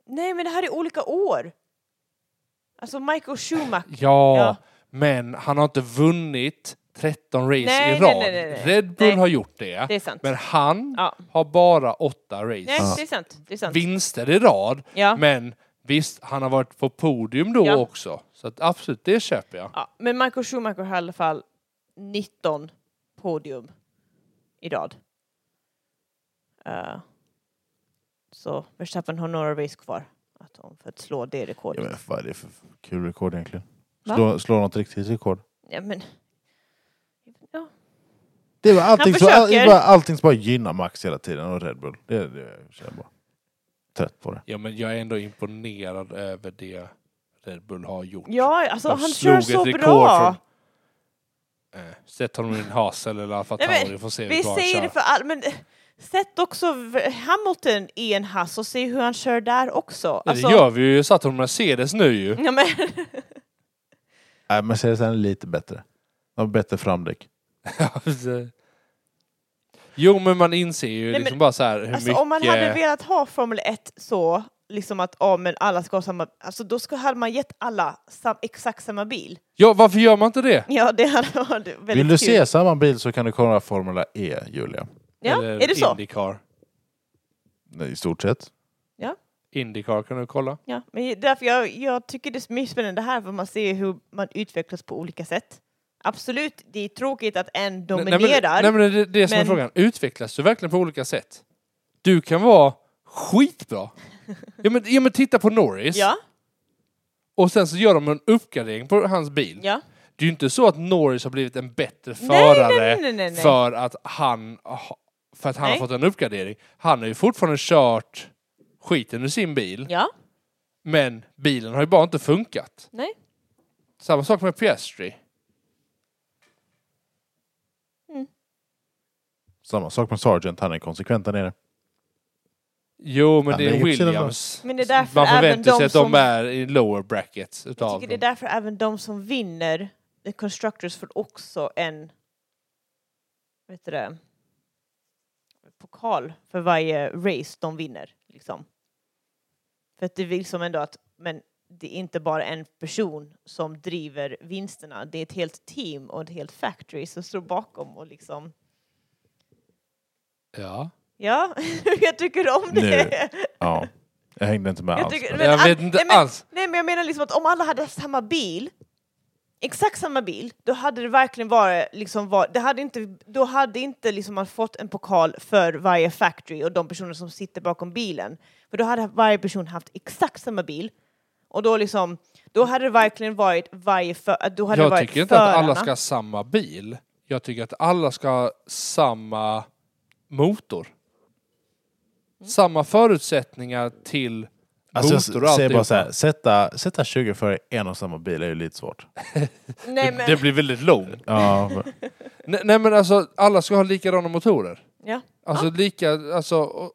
B: Nej, men det här är olika år. Alltså Michael Schumacher.
C: Ja,
B: Ja.
C: men han har inte vunnit 13 race
B: Nej, nej,
C: i rad.
B: nej, nej, nej.
C: Red Bull
B: Nej.
C: har gjort det,
B: Det är sant.
C: men han
B: Ja.
C: har bara åtta race.
B: Nej, det är sant. Det är sant.
C: Vinster i rad,
B: Ja.
C: men visst, han har varit på podium då
B: Ja.
C: också. Så att absolut, det köper jag.
B: Ja, men Michael Schumacher har i alla fall 19 podium i rad. Eh, så Verstappen har några race kvar att, om- för att slå det
A: Jag
B: rekordet.
A: vet, vad är det för kul rekord egentligen?
B: Va?
A: Slå, slå något riktigt rekord.
B: Ja, men, ja.
A: Det är bara allting, som, all,
B: försöker.
A: bara, allting som bara gynnar Max hela tiden och Red Bull. Det, det jag känner bara. Trött på det.
C: Ja, men jag är ändå imponerad över det Red Bull har gjort.
B: ja alltså
C: De
B: han
C: slog
B: kör
C: ett
B: så
C: rekord
B: bra.
C: Från, eh, sätt honom i en hasel eller Alfa
B: Nej, men
C: Tauri, får se
B: Vi
C: hur bra han
B: säger det
C: kör.
B: för all, men eh, sätt också v- Hamilton i en hass och se hur han kör där också.
C: Ja,
B: Alltså, Mm.
C: Det gör vi ju, satt honom i Mercedes nu ju.
B: ja, men,
A: Nej, Mercedes är lite bättre. De har bättre framdäck.
C: Alltså. Jo, men man inser ju
B: Nej,
C: liksom
B: men-
C: bara så här hur
B: alltså,
C: mycket...
B: om man hade velat ha Formel 1 så, liksom att ja, men alla ska ha samma, alltså då skulle, hade man gett alla sam, exakt samma bil.
C: Ja, varför gör man inte det?
B: Ja, det hade varit väldigt
A: Vill
B: kul.
A: du se samma bil så kan du kolla Formula E, Julia.
B: Ja,
C: Eller
B: är det så?
C: Indycar.
A: I stort sett.
C: Indycar kan du kolla.
B: Ja, men därför jag, jag tycker det är mycket spännande här, för man ser hur man utvecklas på olika sätt. Absolut, det är tråkigt att en dominerar.
C: Nej, men, nej, men det är det som är
B: men-
C: frågan. Utvecklas du verkligen på olika sätt? Du kan vara skitbra. ja, men, ja, men titta på Norris.
B: ja,
C: Och sen så gör de en uppgradering på hans bil.
B: ja.
C: Det är ju inte så att Norris har blivit en bättre
B: Nej, nej,
C: förare
B: nej, nej, nej.
C: för att han ha- För att han
B: Nej.
C: har fått en uppgradering. Han har ju fortfarande kört skiten ur sin bil.
B: Ja,
C: Men bilen har ju bara inte funkat.
B: nej.
C: Samma sak med Piastri.
A: Samma sak med Sargent, han är konsekvent där nere.
C: Jo, men
A: Han
C: det är
A: lägger upp sina
C: Williams.
B: Men det är därför
C: Man
B: även
C: förväntar
B: de
C: sig att de
B: som-
C: är i lower brackets
B: Jag
C: utav
B: tycker det är
C: dem.
B: därför även de som vinner The Constructors får också en vet du det, pokal för varje race de vinner. Liksom. För att det vill som ändå att men det är inte bara en person som driver vinsterna. Det är ett helt team och ett helt factory som står bakom och liksom
C: Ja.
B: Ja, jag tycker om det.
A: Ja. Jag hängde inte med
B: Jag
A: alls.
B: tycker-
A: men-
B: Men
C: Jag
B: all-
C: vet inte
B: nej, men-
C: alls.
B: Nej, men jag menar liksom att om alla hade haft samma bil, exakt samma bil, då hade det verkligen varit liksom var, det hade inte, då hade inte liksom man fått en pokal för varje factory och de personer som sitter bakom bilen. För då hade varje person haft exakt samma bil och då liksom, då hade det verkligen varit varje för, då hade det
C: Jag
B: varit
C: tycker inte att alla
B: förarna.
C: ska ha samma bil. Jag tycker att alla ska ha samma motor.
B: Mm.
C: Samma förutsättningar till
A: Alltså, jag
C: motor och
A: s- säger bara
C: alltihop.
A: så här, sätta, sätta 20 före en och samma bil är ju lite svårt.
B: Nej, men,
C: Det blir väldigt långt.
A: Ja, men-
C: Nej, nej men alltså, alla ska ha likadana motorer.
B: ja.
C: Alltså lika, alltså, och,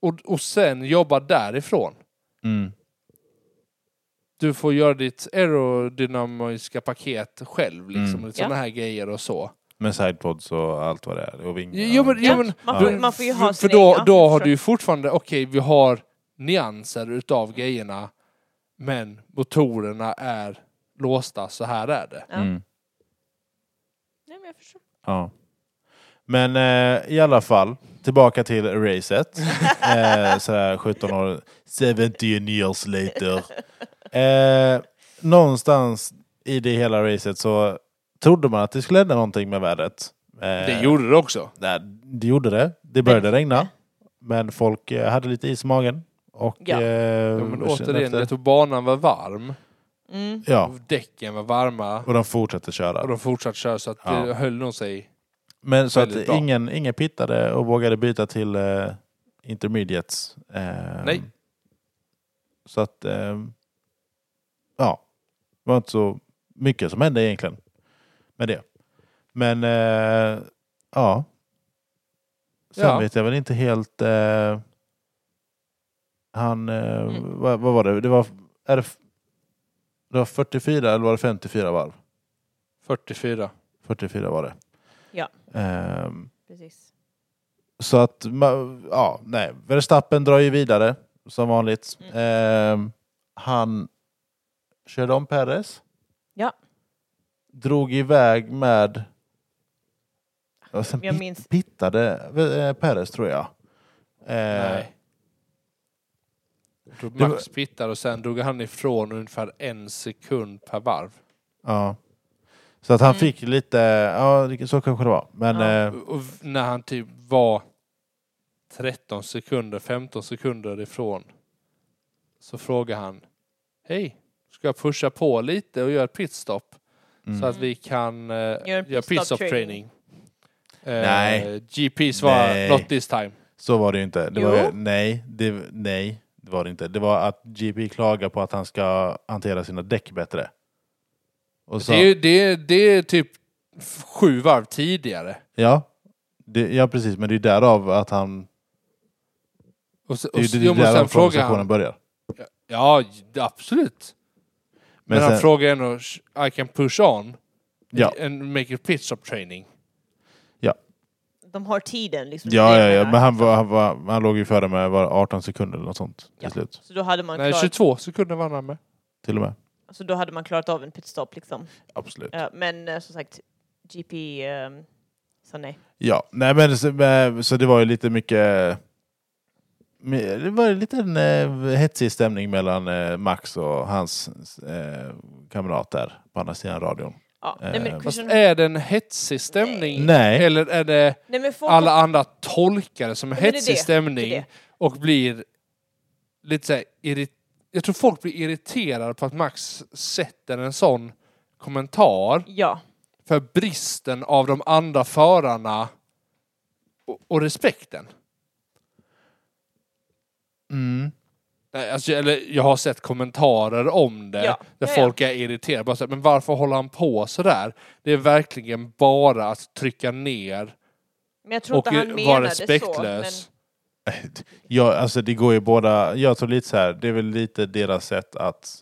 C: och, och sen jobba därifrån.
A: mm.
C: Du får göra ditt aerodynamiska paket själv, liksom.
A: Mm.
B: Ja.
C: Sådana här grejer och så.
A: Med sidepods och allt vad det är. Och vingar.
C: Jo, men,
B: Ja,
C: jo, men,
B: man får-
C: du-
B: man får ju ha
C: För
B: sina
C: då,
B: egna,
C: då har
B: förstår.
C: du ju fortfarande, okej, vi har nyanser utav grejerna, men motorerna är låsta, så här är det.
B: Ja.
A: Mm.
B: Nej, men jag förstår.
A: Ja. Men eh, i alla fall, tillbaka till racet. eh, sådär 17 år, 17 years later. Eh, någonstans i det hela racet så trodde man att det skulle hända någonting med vädret. Eh,
C: Det gjorde det också.
A: nej, det gjorde det. Det började regna. Men folk eh, hade lite is i magen. Och,
B: Ja.
A: eh,
C: Ja, men
A: kände
C: återigen,
A: efter.
C: jag tror banan var varm,
B: Mm.
A: ja,
C: och däcken var varma,
A: och de fortsatte köra.
C: och de fortsatte köra så att det
A: Ja.
C: höll nog sig.
A: Men så att
C: Väldigt bra.
A: ingen, ingen pittade och vågade byta till eh, intermediates. Eh,
C: Nej.
A: Så att, eh, ja, det var inte så mycket som hände egentligen med det. Men, eh, ja. Sen
C: Ja.
A: vet jag väl inte helt, eh, han, eh,
B: Mm.
A: vad, vad var det? Det var, är det, f- det var 44 eller var det 54 varv?
C: 44.
A: Eh. 44 var det.
B: Ja.
A: Ehm,
B: Precis.
A: så att, ma- ja, nej. Verstappen drar ju vidare som vanligt.
B: Mm.
A: Ehm, han körde om Perez.
B: Ja.
A: Drog iväg med... Och sen
B: Jag
A: pit-
B: minns-
A: pittade eh, Perez tror jag. Ehm,
C: Nej. Jag tror
A: Det var-
C: Max pittar och sen drog han ifrån ungefär en sekund per varv.
A: Ja. Så att han
B: Mm.
A: fick lite, ja det- så kanske det var. Men
B: Ja.
A: eh,
C: Och- och när han typ var 13 sekunder, 15 sekunder ifrån så frågar han Hej, ska jag pusha på lite och göra ett pitstop
A: mm.
C: så att vi kan eh,
B: en
C: göra
B: pitstop
C: pitstop training?
B: training.
C: Eh,
A: Nej.
C: GP svarar
A: Nej.
C: Not this time.
A: Så var det ju inte. Det
B: Jo.
A: var, nej, det, nej, det var det inte. Det var att GP klagar på att han ska hantera sina däck bättre. Och så,
C: Det är, ju- det, är, det är typ f- sju varv tidigare.
A: ja, det, ja, precis. Men det är därav att han...
C: Och, så, och,
A: Det är
C: så-
A: ju
C: jo,
A: det,
C: men
A: det
C: sen
A: därav
C: frågar han
A: konversationen börjar.
C: Ja, j- absolut. Men,
A: Men
C: han
A: sen-
C: frågar ändå, "Sh- I can push on
A: Ja,
C: and make a pit stop training.
B: De har tiden liksom.
A: ja,
B: Det
A: ja,
B: jag
A: ja.
B: menar.
A: men han, var, han, var, han låg ju före med var det 18 sekunder eller något sånt till
B: Ja.
A: slut.
B: Så då hade man
C: Nej,
B: klarat
C: 22 sekunder vann han med.
A: Till och med.
B: Så då hade man klarat av en pitstop liksom.
A: Absolut.
B: Ja, men eh, som sagt, GP eh, sa nej.
A: Ja, nej men så, men- så det var ju lite mycket... men Det var en liten eh, hetsig stämning mellan eh, Max och hans eh, kamrat där på andra sidan radion.
B: Ja, nej,
A: Eh,
B: men
C: Fast
B: Christian,
C: är det en hetsig stämning?
A: Nej.
C: Eller är det
B: nej, men folk,
C: alla andra tolkar det som en
B: men det är
C: hetsig
B: det,
C: stämning
B: det är det.
C: och blir lite så här irri- Jag tror folk blir irriterade på att Max sätter en sån kommentar
B: Ja,
C: för bristen av de andra förarna och, och respekten.
A: Mm.
C: Nej, alltså, eller jag har sett kommentarer om det,
B: Ja.
C: där
B: Ja, ja.
C: folk är irriterade. Bara så här, men varför håller han på sådär? Det är verkligen bara att trycka ner
B: Men jag tror
C: och
B: inte han
C: vara
B: menade så. Men,
C: respektlös.
A: Ja, alltså det går ju båda. Jag tror lite så här, det är väl lite deras sätt att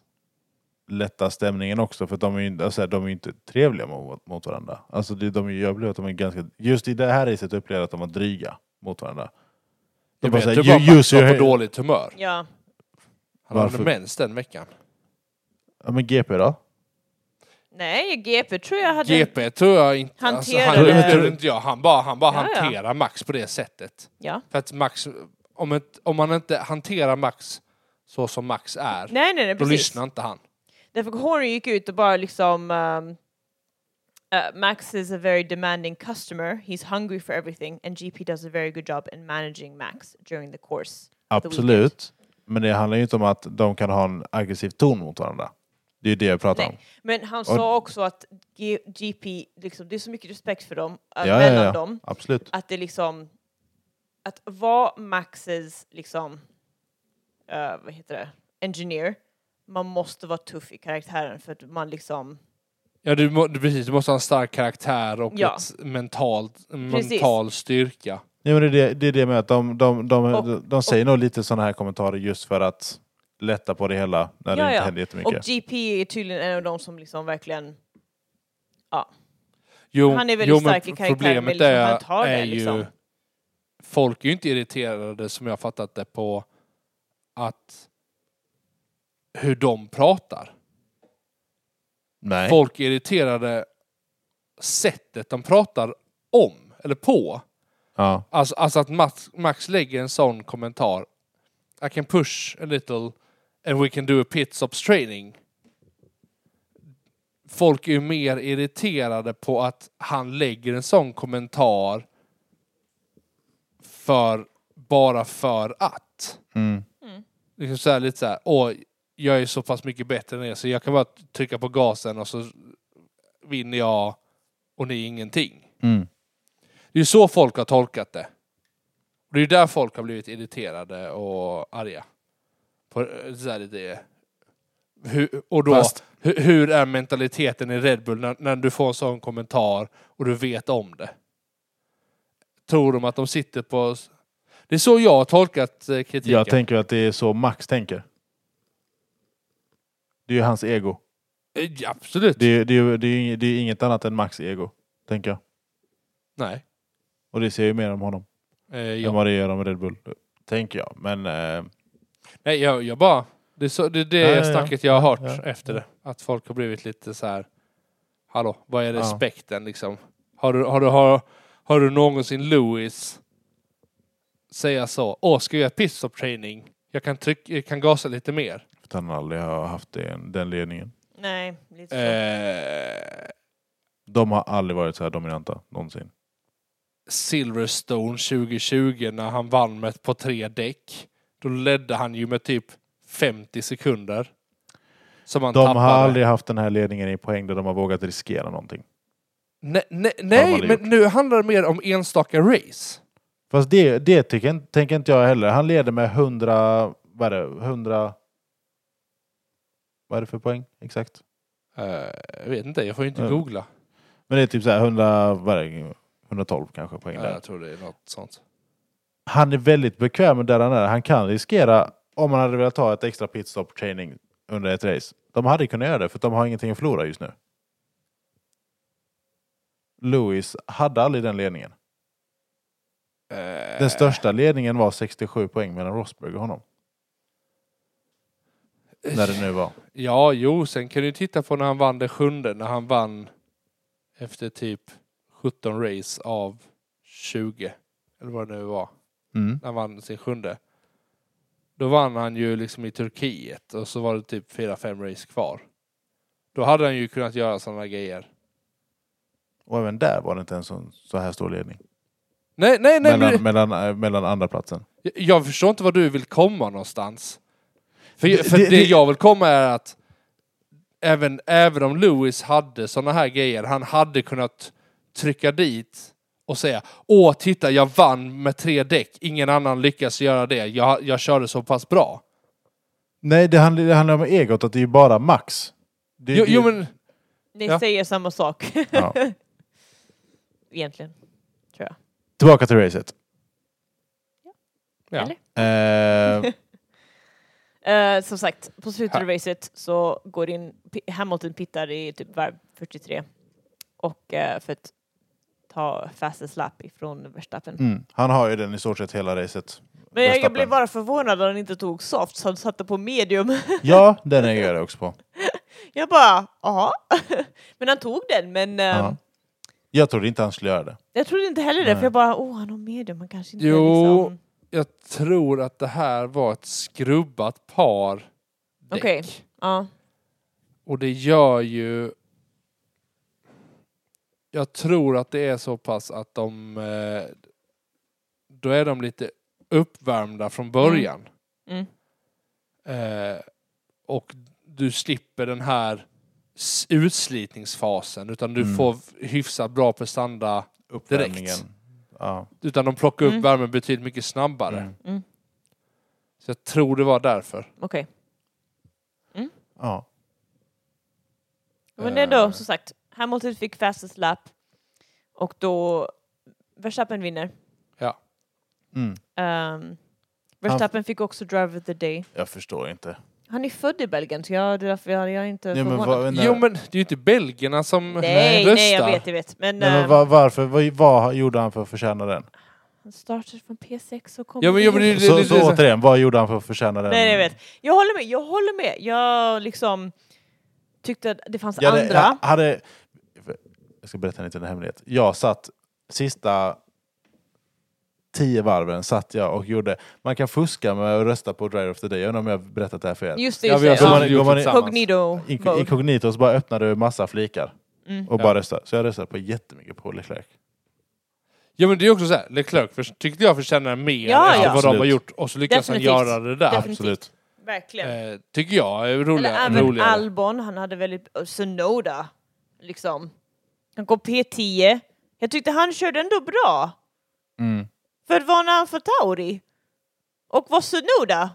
A: lätta stämningen också, för att de är ju inte, alltså, de är ju inte trevliga mot, mot varandra. Alltså det, de, är- jag upplever att de är ganska, just i det här riset upplever jag att de var dryga mot varandå.
C: Det
A: De bara
C: vet du
A: såhär,
C: bara,
A: you
C: Max
A: use
C: var på
A: your...
C: dåligt humör.
B: ja.
C: Han
A: Varför?
C: hade mens den veckan.
A: Ja men GP då?
B: Nej, GP tror jag hade...
C: GP tror jag inte... Alltså, han,
B: Hanterade-
C: det tror inte jag. Han bara, han bara
B: Ja, ja.
C: hanterar Max på det sättet.
B: Ja.
C: För att Max... Om, ett, om man inte hanterar Max så som Max är,
B: Nej, nej, nej,
C: då
B: precis.
C: lyssnar inte han.
B: Därför Horner gick ut och bara liksom... ehm, eh, Max is a very demanding customer. He's hungry for everything and GP does a very good job in managing Max during the course.
A: Absolut. Men det handlar ju inte om att de kan ha en aggressiv ton mot varandra. Det är ju det jag pratar om.
B: Nej. Men han sa också att G- GP, liksom, det är så mycket respekt för dem, eh,
A: Ja, ja,
B: mellan
A: ja.
B: dem,
A: Absolut.
B: att det liksom... Att vara Maxes liksom... eh, vad heter det? Engineer. Man måste vara tuff i karaktären för att man liksom...
C: Ja, du, må, du, precis, du måste ha en stark karaktär och
B: Ja.
C: ett mentalt, en mental styrka.
A: Ja, men det, är det, det är det med att de, de, de,
B: Och-
A: de, de säger nog lite sådana här kommentarer just för att lätta på det hela när det
B: Ja,
A: inte
B: ja.
A: händer
B: Och
A: jättemycket.
B: GP är tydligen en av de som liksom verkligen...
C: Jo,
B: Han är väldigt
C: jo, men
B: stark i karaktären, men
C: Problemet
B: liksom han
C: är,
B: tar det,
C: är
B: liksom.
C: ju... Folk är ju inte irriterade, som jag har fattat det, på att hur de pratar.
A: Nej.
C: Folk är irriterade sättet de pratar om, eller på.
A: Ja.
C: Alltså, alltså att Max, Max lägger en sån kommentar. I can push a little and we can do a pit stops training. Folk är ju mer irriterade på att han lägger en sån kommentar för bara för att.
A: Mm.
C: Liksom så här, lite så här, åh, jag är så pass mycket bättre än er så jag kan bara trycka på gasen och så vinner jag och ni ingenting.
A: Mm.
C: Det är ju så folk har tolkat det. Och det är ju där folk har blivit irriterade och arga. På, eh, så här lite, hur, och då,
A: Fast-
C: hur, hur är mentaliteten i Red Bull när, när du får en sån kommentar och du vet om det? Tror de att de sitter på... s- Det är så jag har tolkat eh, kritiken.
A: Jag tänker att det är så Max tänker. Det är ju hans ego.
C: Eh, ja, absolut.
A: Det är, det är, det är, ju- det är inget annat än Max ego, tänker jag.
C: Nej.
A: Och det ser ju mer om honom
C: Eh,
A: än
C: jag,
A: vad det gör om Red Bull, tänker jag. Men eh,
C: nej, jag, jag bara... Det är så, det, är det
A: Ja, ja, ja.
C: snacket jag har hört
A: Ja, ja.
C: efter det. Att folk har blivit lite så här... Hallå, vad är
A: Ja.
C: respekten liksom? Har du, har du, har, har du någonsin Louis säga så? Åh, ska vi göra pitstop training? Jag kan, tryck, jag kan gasa lite mer.
A: att han aldrig har haft den, den ledningen.
B: Nej, lite så.
C: Eh,
A: De har aldrig varit så här dominanta, någonsin.
C: Silverstone 2020 när han vann med på tre däck. Då ledde han ju med typ 50 sekunder. Som han
A: De
C: tappade.
A: har aldrig haft den här ledningen i poäng där de har vågat riskera någonting.
C: Nej, nej,
A: de
C: nej
A: aldrig
C: men nu handlar det mer om enstaka race.
A: Fast det, det tycker, inte- tänker inte jag heller. Han leder med 100... Vad är det? 100... Vad är det för poäng? Exakt.
C: Eh, jag vet inte, jag får ju inte
A: Mm.
C: googla.
A: Men det är typ så här 100... Vad är det? 112 kanske poäng
C: Ja,
A: där.
C: jag tror det är något sånt.
A: han är väldigt bekväm med där han är. Han kan riskera, om han hade velat ta ett extra pitstop training under ett race. De hade kunnat göra det, för de har ingenting att förlora just nu. Lewis hade aldrig den ledningen.
C: Eh, Äh.
A: Den största ledningen var 67 poäng mellan Rosberg och honom. När det nu var.
C: Ja, jo, sen kan du titta på när han vann det sjunde, när han vann efter typ 17 race av 20. Eller vad det nu var.
A: Mm.
C: När han vann sin sjunde. Då vann han ju liksom i Turkiet och så var det typ 4-5 race kvar. Då hade han ju kunnat göra sådana grejer.
A: Och även där var det inte en sån, så här stor ledning.
C: Nej, nej, nej. men-
A: mellan, mellan, eh, mellan andra platsen.
C: Jag- Jag förstår inte var du vill komma någonstans. För,
A: Det-
C: för det,
A: det- det-
C: jag vill komma är att även, även om Lewis hade sådana här grejer, han hade kunnat trycka dit och säga Åh, titta, jag vann med tre däck. Ingen annan lyckas göra det. Jag, jag körde så pass bra.
A: Nej, det handlar, det handlar om egot, att det är ju bara Max. Det,
C: Jo,
A: det,
C: jo men...
B: Ni
C: Ja.
B: säger samma sak
A: Ja.
B: egentligen.
A: Tillbaka till racet.
C: Ja.
B: Eller?
A: Eh,
B: Eh, som sagt, på slutet
C: Ha.
B: av racet så går in P- Hamilton pittar i typ varv 43 och eh, för att ta fastest lap ifrån Verstappen.
A: mm. Han har ju den i stort sett hela racet.
B: Men jag,
A: Verstappen.
B: jag blev bara förvånad att han inte tog soft så han satte på medium.
A: Ja, den är jag också på.
B: Jag bara, jaha. men han tog den, men eh,
A: Ja. Jag trodde inte han skulle göra det.
B: jag trodde inte heller det
A: Nej.
B: för jag bara, åh han har medium, han kanske inte
C: Jo.
B: liksom...
C: Jag tror att det här var ett skrubbat par däck.
B: Okej. Ja.
C: Och det gör ju... Jag tror att det är så pass att de... eh, Då är de lite uppvärmda från början.
B: Mm.
C: Eh, Och du slipper den här s- utslitningsfasen utan du
A: Mm.
C: får hyfsat bra prestanda.
A: Uppvärmningen. Ja.
C: Utan de plockar upp
B: Mm.
C: värmen betydligt mycket snabbare.
A: Mm.
B: Mm.
C: Så jag tror det var därför.
B: Okej.
A: Ja.
B: Men ändå,
C: Eh.
B: som sagt, Hamilton fick fastest lap och då Verstappen vinner.
A: Mm.
B: Ehm, Verstappen fick också Driver of the Day.
A: Jag förstår inte.
B: Han är född i Belgien, så jag, det är därför jag, jag är inte
A: Nej, men
B: förvånad.
A: vad- när-
C: Jo men det är ju inte belgierna som
B: nej,
C: röstar.
B: nej, jag vet, jag vet. Men,
A: Nej, men
B: ehm,
A: var, varför? Vad, vad gjorde han för att förtjäna den?
B: han startade från P6 och kom
C: Ja, men jag
B: in.
C: blir- Det-
A: Så,
C: det- det-
A: så återigen, vad gjorde han för att förtjäna den?
B: Nej, jag vet. Jag håller med, jag håller med. Jag liksom tyckte att det fanns
A: Jag hade,
B: andra.
A: jag hade, jag ska berätta en liten hemlighet. Jag satt sista tio varven satt jag och gjorde... Man kan fuska med att rösta på Driver of the Day. Jag undrar om jag har berättat det här för er.
B: Just det,
C: Ja,
B: just
C: vi har
B: det.
A: Går alltså, man-
C: gjort
A: går man-
C: det
B: Ja.
C: tillsammans.
B: Cognito
A: Inko-
B: mode.
A: Inkognito, så bara öppnade du massa flikar
B: Mm.
A: och
C: Ja.
A: bara röstade. Så jag röstade på jättemycket på Leclerc.
C: Ja men det är också så här, Leclerc för, tyckte jag förtjänar mer
B: Ja,
C: efter
B: ja.
C: vad de har
A: Absolut.
C: gjort och så lyckas
B: Definitivt.
C: han göra det där.
B: Definitivt.
A: Absolut.
B: Verkligen.
C: Eh, tycker jag är
B: Eller
C: roliga,
B: även
C: roligare.
B: Albon, han hade väldigt... och Sonoda, liksom. Han kom P10. Jag tyckte han körde ändå bra.
A: Mm.
B: För vad när han för Tauri? Och vad Sonoda?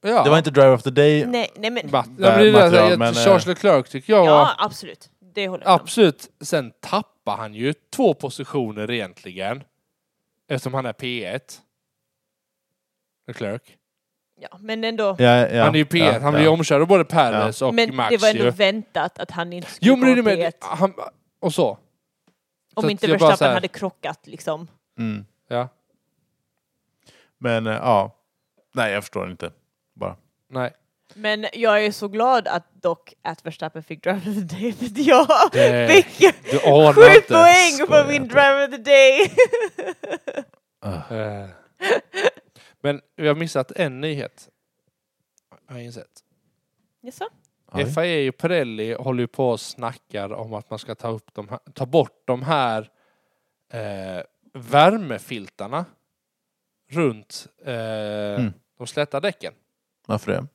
C: Ja.
A: Det var inte Driver of the Day.
B: Nej, nej men...
C: Matt, ja, men det är det,
A: material,
C: jag-
A: men,
C: Charles
A: eh,
C: Leclerc tycker jag var
B: Ja, absolut. Det håller jag med om.
C: absolut... Sen tappar han ju två positioner egentligen. Eftersom han är P1. Leclerc.
B: Ja, men ändå.
A: Ja, ja,
C: han är ju P1,
A: ja,
C: han blir ju
A: ja.
C: omkörd av både Perez och
B: men
C: Max
B: det var ändå
C: ju.
B: väntat att han inte skulle
C: Jo men det är det
B: komma
C: med,
B: P1.
C: han, och så.
B: Om
C: så
B: inte
C: att jag bara så
B: Verstappen
C: här-
B: hade krockat liksom.
A: Mm.
C: Ja,
A: Men eh, ja, nej jag förstår inte. Bara.
C: nej.
B: Men jag är så glad att dock att Verstappen fick Driver of the Day. för Jag
C: Det-
B: fick
C: Du anar
B: sju
C: inte.
B: poäng
A: skojar
B: på min
A: inte.
B: Driver of the Day!
C: Eh. Men vi har missat en nyhet. Har jag insett.
B: Jaså?
A: Oj.
C: FIA och Pirelli håller ju på och snackar om att man ska ta, upp de här, ta bort de här eh, värmefiltarna runt eh,
A: Mm.
C: de släta däcken.
A: Varför det?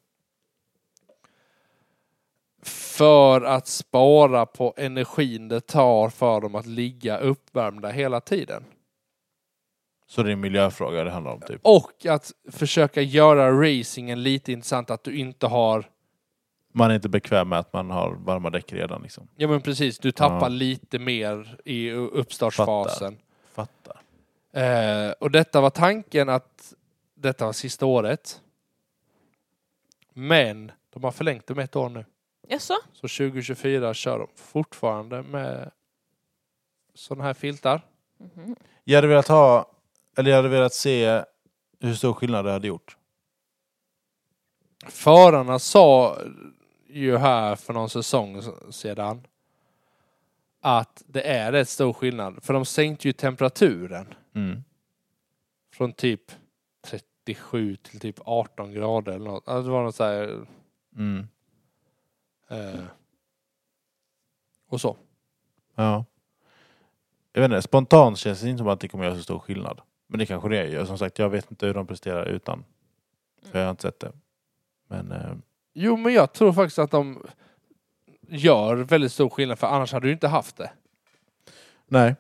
C: För att spara på energin det tar för dem att ligga uppvärmda hela tiden.
A: Så det är en miljöfråga det handlar om typ.
C: Och att försöka göra racingen lite intressant att du inte har
A: Man är inte bekväm med att man har varma däck redan liksom.
C: Ja men precis, du tappar
A: Ja.
C: lite mer i u- uppstartsfasen.
A: Fattar.
C: Eh, och detta var tanken att detta var sista året. Men de har förlängt dem ett år nu.
B: Jaså?
C: Så 2024 kör de fortfarande med sådana här filtar.
B: Mhm.
A: Jag hade velat ha, eller jag hade velat se hur stor skillnad det hade gjort.
C: Förarna sa ju här för någon säsong sedan att det är rätt stor skillnad. För de sänkte ju temperaturen. från typ 37 till typ 18 grader eller något. Alltså, det var något så här,
A: Mm.
C: eh, och så.
A: Ja. Jag vet inte, spontant känns det inte som att det kommer göra så stor skillnad. Men det kanske det gör. Som sagt, jag vet inte hur de presterar utan. För jag har inte sett det. Men eh,
C: Jo, men jag tror faktiskt att de gör väldigt stor skillnad för annars hade du inte haft det.
A: nej.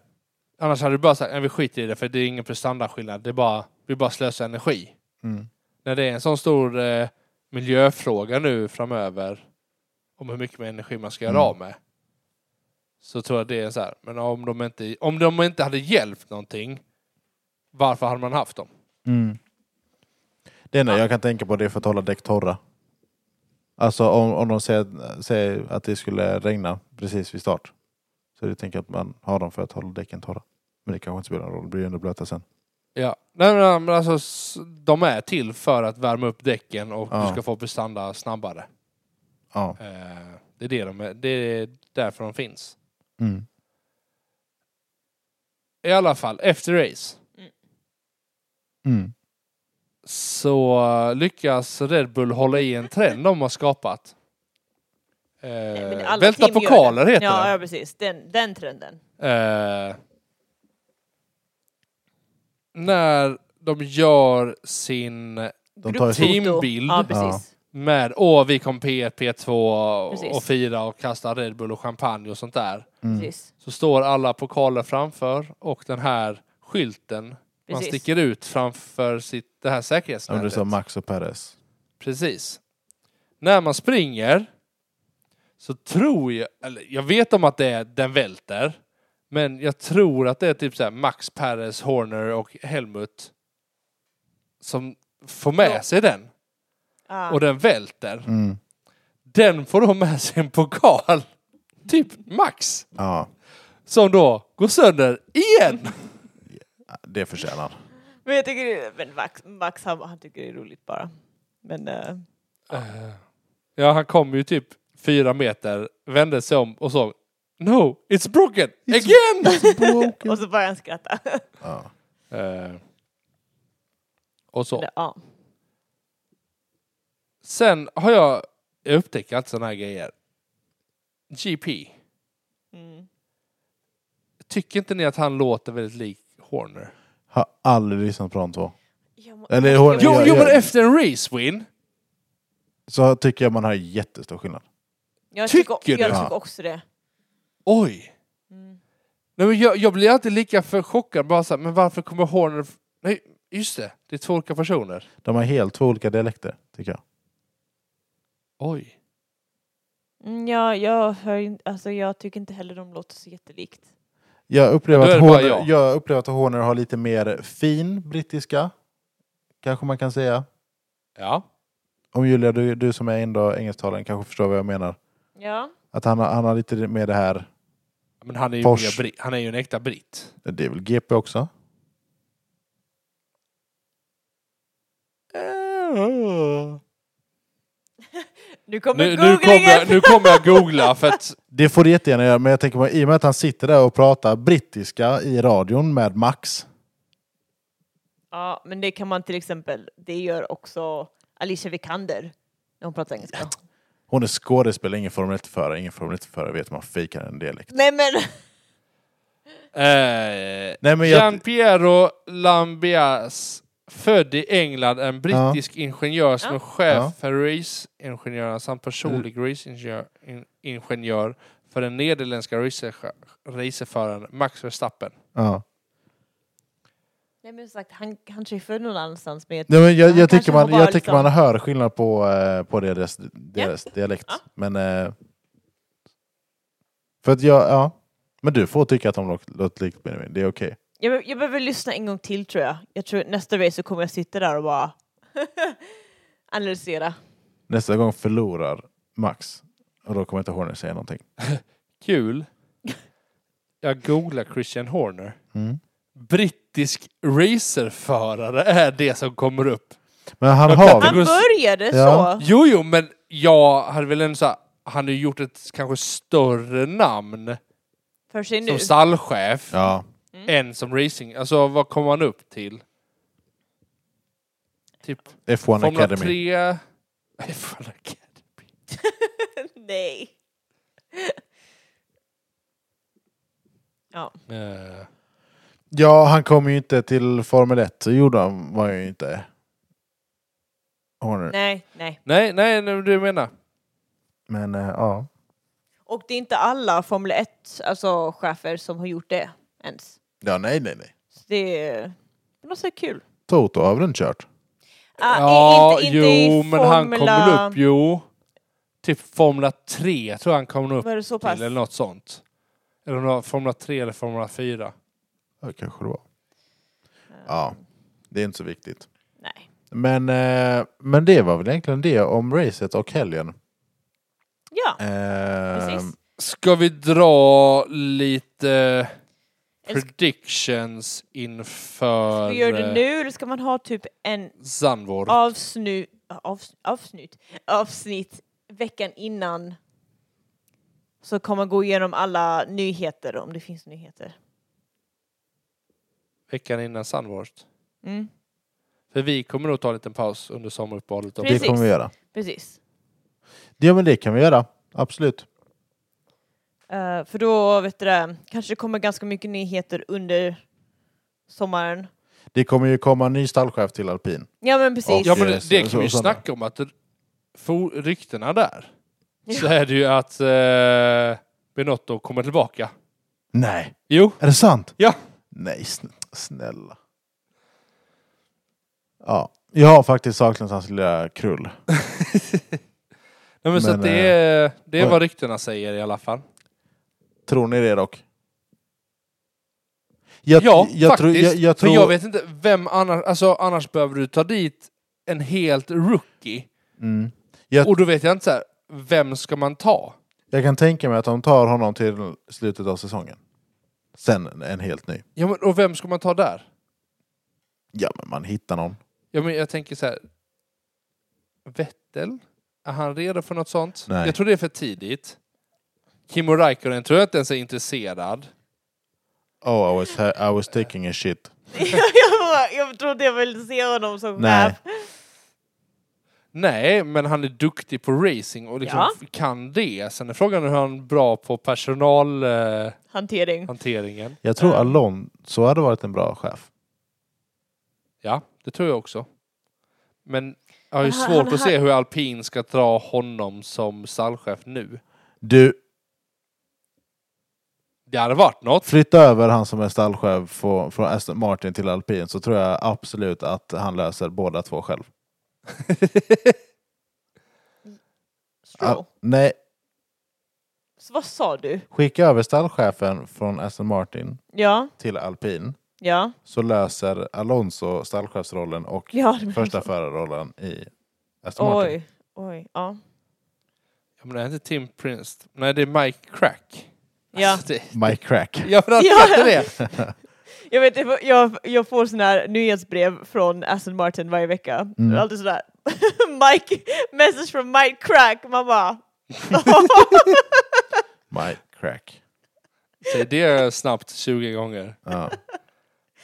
C: Annars hade du bara sagt, "Nej, vi skiter i det för det är ingen prestandaskillnad. Det är bara, vi bara slösar energi.
A: Mm.
C: När det är en sån stor eh, miljöfråga nu framöver om hur mycket mer energi man ska göra
A: Mm.
C: av med. Så tror jag det är så här, men om de inte, om de inte hade hjälpt någonting, varför hade man haft dem?
A: Mm. Det enda jag kan tänka på det är för att hålla däck torra. Alltså om, om de säger, säger att det skulle regna precis vid start. Så det tänker jag att man har dem för att hålla däcken torra. Men det kanske inte spelar någon roll, det blir ju ändå blöta sen.
C: Ja, nej men, men alltså s- de är till för att värma upp däcken och
A: Ja.
C: du ska få prestanda snabbare.
A: Ja.
C: Eh, det, är det, de är, det är därför de finns.
A: Mm.
C: I alla fall, efter race
A: Mm.
C: så eh, lyckas Red Bull hålla i en trend de har skapat. Eh,
B: Men alla
C: välta
B: team gör
C: pokaler
B: det.
C: heter
B: ja,
C: det.
B: ja, precis. Den, den trenden.
C: Eh, när de gör sin
A: De tar ju
B: Gruppfoto.
A: sitt,
C: teambild.
B: Ja, precis.
C: med åh vi kom P1, P2 och,
B: Precis.
C: och fira och kasta Red Bull och champagne och sånt där.
A: mm.
B: precis.
C: Så står alla pokaler framför och den här skylten man
B: Precis.
C: sticker ut framför sitt, det
A: ja,
C: här
A: men det är
C: säkerhetsnätet.
A: som Max och Perez.
C: Precis. När man springer så tror jag, eller jag vet om att det är den välter, men jag tror att det är typ så här Max, Perez, Horner och Helmut som får med
B: Ja.
C: sig den
B: Ah.
C: och den välter.
A: Mm.
C: Den får då med sig en pokal, typ Max,
A: Ja,
C: som då går sönder igen.
A: det förtjänar
B: Men jag tycker det- men Max, Max han, han tycker det är roligt bara. Men eh,
C: Eh, Ja, han kom ju typ fyra meter, vände sig om och såg No, it's broken again!
B: och så börjar han skratta.
A: ja.
C: Eh, och så.
B: Eller, ja.
C: Sen har jag, jag upptäcker alltid sådana här grejer. GP.
B: Mm.
C: Tycker inte ni att han låter väldigt lik Horner?
A: Har aldrig lyssnat på de två.
B: Jag
C: Eh,
B: må-
A: Eller hon-
B: jag-
C: Jo,
A: Ja,
C: jo
A: ja.
C: men efter en race-win.
A: Så tycker jag man har jättestor skillnad.
B: jag tycker,
C: tycker
B: jag
C: du?
B: tycker också det.
C: Oj!
B: Mm.
C: Nej, men jag, jag blir alltid lika för chockad. Bara så här, men varför kommer Horner... f- Nej, just det. Det är två olika personer.
A: De har helt två olika dialekter, tycker jag.
C: Oj.
B: Mm, ja, jag, hör, in- alltså, jag tycker inte heller de låter så jättelikt.
A: Jag upplever,
C: Då är
A: att
C: det bara
A: Horner,
C: jag.
A: jag. upplever att Horner har lite mer fin brittiska, kanske man kan säga.
C: Ja.
A: Om Julia, du, du som är ändå engelsktalande kanske förstår vad jag menar.
B: Ja.
A: Att han, har- han har lite mer det här,
C: Men han är ju,
A: Fors.
C: mer bri- han är ju en äkta britt.
A: det är väl GP också?
B: Nu kommer
C: Nu, nu,
B: googlingen!
C: kommer jag, nu kommer jag googla för att...
A: Det får det jättegärna göra, men jag tänker på, i och med att han sitter där och pratar brittiska i radion med Max.
B: Ja, men det kan man till exempel, det gör också Alicia Vikander när hon pratar engelska.
A: Hon är skådespelare, ingen Formel 1-förare. Ingen Formel 1-förare vet man fejkar en dialekt.
B: Nej men!
C: Eh,
A: Nej, men jag-
C: Gian Piero Lambias, född i England, en brittisk ingenjör som
B: Ja.
C: är chef
A: Ja. Mm.
C: för raceingenjörerna samt personlig raceingenjör in, ingenjör för den nederländska racer- racerföraren Max Verstappen.
A: Ja.
B: Nej men som sagt, han kanske är född någon annanstans med
A: Nej, men jag,
B: Han
A: jag
B: kanske
A: tycker, man,
B: har
A: jag
B: bara
A: tycker
B: liksom-
A: man hör skillnad på, eh, på deras, deras dialekt.
B: Ja.
A: Men, eh, för att jag, ja. men du får tycka att de låter- låter likt Benjamin, det är okej.
B: Jag, be- jag behöver lyssna en gång till tror jag. Jag tror nästa race så kommer jag sitta där och bara analysera.
A: Nästa gång förlorar Max och då kommer inte Horner säga någonting.
C: Kul. Jag googlar Christian Horner.
A: Mm.
C: Brittisk racerförare är det som kommer upp.
A: Men han
C: Jag
A: har
C: kan-
B: Han
A: väl,
C: går-
B: började
A: Ja.
B: så.
C: Jo, jo, men jag hade väl en så här, han har ju gjort ett kanske större namn
B: För sig nu. Mm.
C: som stallchef
A: ja,
C: än som racing. Alltså vad kommer han upp till? Typ
A: F1
C: Formel
A: Academy.
C: 3? Nej, Formel Academy.
B: Nej. ja.
C: Eh,
A: Ja, han kom ju inte till Formel 1, så gjorde han var ju inte. Horner.
B: Nej, nej.
C: nej, nej, nej, du menar.
A: Men eh, ja.
B: alltså, Och det är inte alla Formel 1-chefer som har gjort det ens.
A: Ja, nej, nej, nej.
B: Så det är på något sätt kul.
A: Toto har väl inte kört?
B: Ah, i-
C: ja,
B: inte- inte i
C: jo, men han kom
B: Formula-
C: väl upp, jo. Typ Formula 3 tror jag han kom upp
B: Var det så pass?
C: till, eller något sånt. Eller om det var Formula 3 eller Formula 4.
A: Ja, kanske det var. Ja, det är inte så viktigt.
B: Nej.
A: Men, eh, men det var väl egentligen det om racet och helgen.
B: Ja,
A: Eh,
C: Ehm,
B: precis.
C: Ska vi dra lite
B: Eller ska-
C: predictions inför
B: Ska vi göra det
C: eh,
B: nu eller ska man ha typ en
C: Zandvoort?
B: avsnu, avs, avsnitt, avsnitt veckan innan? Så kommer man gå igenom alla nyheter om det finns nyheter.
C: Veckan innan Zandvoort.
B: Mm.
C: För vi kommer nog ta en liten paus under sommaruppehållet.
A: det
B: Precis.
A: kommer vi göra.
B: Precis.
A: Ja, men det kan vi göra. Absolut.
B: Eh, för då vet du, det, kanske det kommer ganska mycket nyheter under sommaren.
A: Det kommer ju komma en ny stallchef till alpin.
B: Ja men
A: Och-
B: precis.
C: Ja men
A: Eh,
C: det, det
A: så-
C: kan vi ju
A: så- sådana.
C: snacka om att for, ryktena där
B: Ja.
C: så är det ju att eh, Benotto kommer tillbaka.
A: Nej,
C: Jo,
A: är det sant?
C: ja.
A: Nej, sn- snälla. Ja, jag har faktiskt saknat hans lilla krull.
C: Nej, men så
A: Men, eh,
C: att det, är, det är
A: oj.
C: vad ryktena säger i alla fall.
A: Tror ni det dock? Jag,
C: ja, faktiskt.
A: tror- jag, jag tror...
C: För jag vet inte vem annars, alltså annars behöver du ta dit en helt rookie.
A: Mm. Jag-
C: Och då vet jag inte så här, vem ska man ta?
A: Jag kan tänka mig att de tar honom till slutet av säsongen. Sen en helt ny.
C: Ja, men, och vem ska man ta där?
A: Ja, men man hittar någon.
C: Ja, men jag tänker så här. Vettel? Är han redo för något sånt?
A: Nej.
C: Jag tror det är för tidigt. Kimmo Räikkönen tror jag inte ens är intresserad.
A: Oh, I was, ha- I was taking a shit.
B: jag, bara- jag trodde jag ville se honom som
A: Nej.
B: chef.
C: Nej, men han är duktig på racing och liksom
B: Ja.
C: f- kan det. Sen är frågan hur han är bra på personalhanteringen. Eh,
B: Hantering.
C: hanteringen.
A: Jag tror
B: Mm.
A: Alonso hade varit en bra chef.
C: ja, det tror jag också. Men jag har ju
B: Men han-
C: svårt
B: han-
C: att se hur alpin ska dra honom som stallchef nu.
A: Du,
C: Det hade varit något.
A: flytta över han som är stallchef från från Aston Martin till Alpin så tror jag absolut att han löser båda två själv.
B: Stroll.
A: Ah, nej,
B: Så vad sa du?
A: skicka över stallchefen från Aston Martin
B: Ja,
A: till Alpin
B: ja,
A: så löser Alonso stallchefsrollen och
B: ja. det-
A: första förarrollen i Aston Martin.
B: Oj, oj, ja.
C: Ja, men det är inte Tim Prince. Nej, det är Mike Crack.
B: Ja.
C: Alltså, det,
A: Mike Crack.
C: jag har
B: Ja.
C: inte det.
B: Jag, vet, jag- jag, jag får sådana här nyhetsbrev från Aston Martin varje vecka.
C: Mm.
B: Det är alltid sådär, Mike, message from Mike Crack. Man bara,
A: Mike Crack.
C: Säg det snabbt 20 gånger.
A: Ja.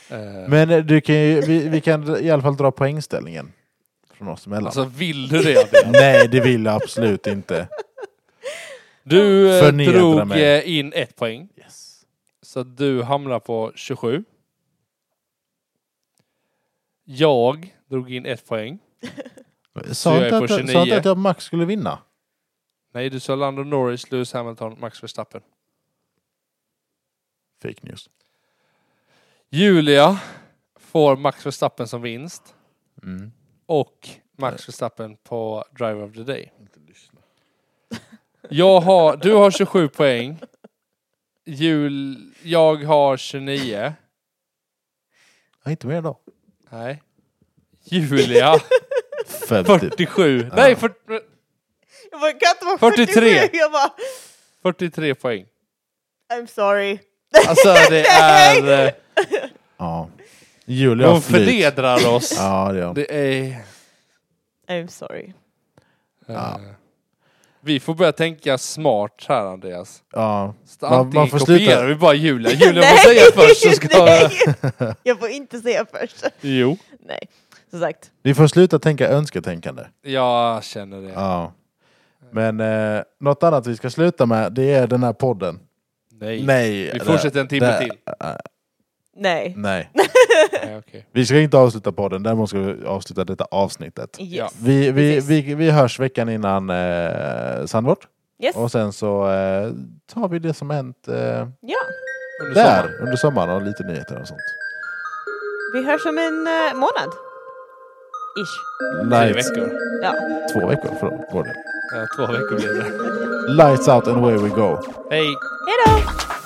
C: Eh,
A: Men eh, du kan ju, vi, vi kan i alla fall dra poängställningen från oss emellan.
C: alltså, vill du det? Adrian?
A: Nej, det vill jag absolut inte.
C: Du eh,
A: Förnedra
C: drog
A: mig.
C: eh, in ett poäng. Så att du hamnar på 27. Jag drog in ett poäng. Så
A: Sa
C: jag
A: inte,
C: är på
A: att, jag- sa
C: 29.
A: inte att jag max skulle vinna?
C: Nej, du sa Lando Norris, Lewis Hamilton, Max Verstappen.
A: Fake news.
C: Julia får Max Verstappen som vinst
A: Mm.
C: och Max Verstappen på Driver of the Day. Jag har, du har 27 poäng. Jul, jag har 29.
A: Ja, inte mer då.
C: Nej. Julia
A: 50.
C: 47. Nej, 40,
B: jag bara, kan inte vara
C: 43.
B: 43. Jag bara,
C: 43 poäng.
B: I'm sorry.
C: Alltså det är... eh,
A: Ja. Julia har
C: De
A: flyt.
C: förnedrar oss.
A: Ja, det gör de.
C: Det är...
B: I'm sorry.
A: Ja.
C: eh, Vi får börja tänka smart här Andreas.
A: ja.
C: Så
A: Man-
C: Antingen
A: man får
C: kopierar
A: sluta-
C: vi bara Julia. Julia
B: Nej,
C: får säga först så ska...
B: nej. Jag får inte säga först.
C: Jo,
B: Nej, som sagt.
A: Vi får sluta tänka önsketänkande.
C: jag känner det.
A: Ja. Men eh, något annat vi ska sluta med, det är den här podden.
C: Nej.
A: Nej.
C: Vi
A: det-
C: fortsätter en timme
A: det-
C: till. Mm.
B: Nej.
A: Nej.
C: Nej, okej.
A: Vi ska inte avsluta podden, däremot ska vi avsluta detta avsnittet.
B: Yes.
C: Ja.
A: Vi, vi,
B: Precis.
A: vi, vi hörs veckan innan eh, Sandvort.
B: Yes.
A: Och sen så eh, tar vi det som hänt eh,
B: Ja.
C: Under
A: Där!
C: sommaren.
A: Under sommaren och lite nyheter och sånt.
B: Vi hörs om en eh, månad. Ish.
C: Tre
A: Lights,
C: veckor.
B: Ja.
A: två veckor förlåt, går det.
C: 呃 Ja, två veckor blir det. 哎
A: Lights out and away we go.
C: Hej!
B: Hej då!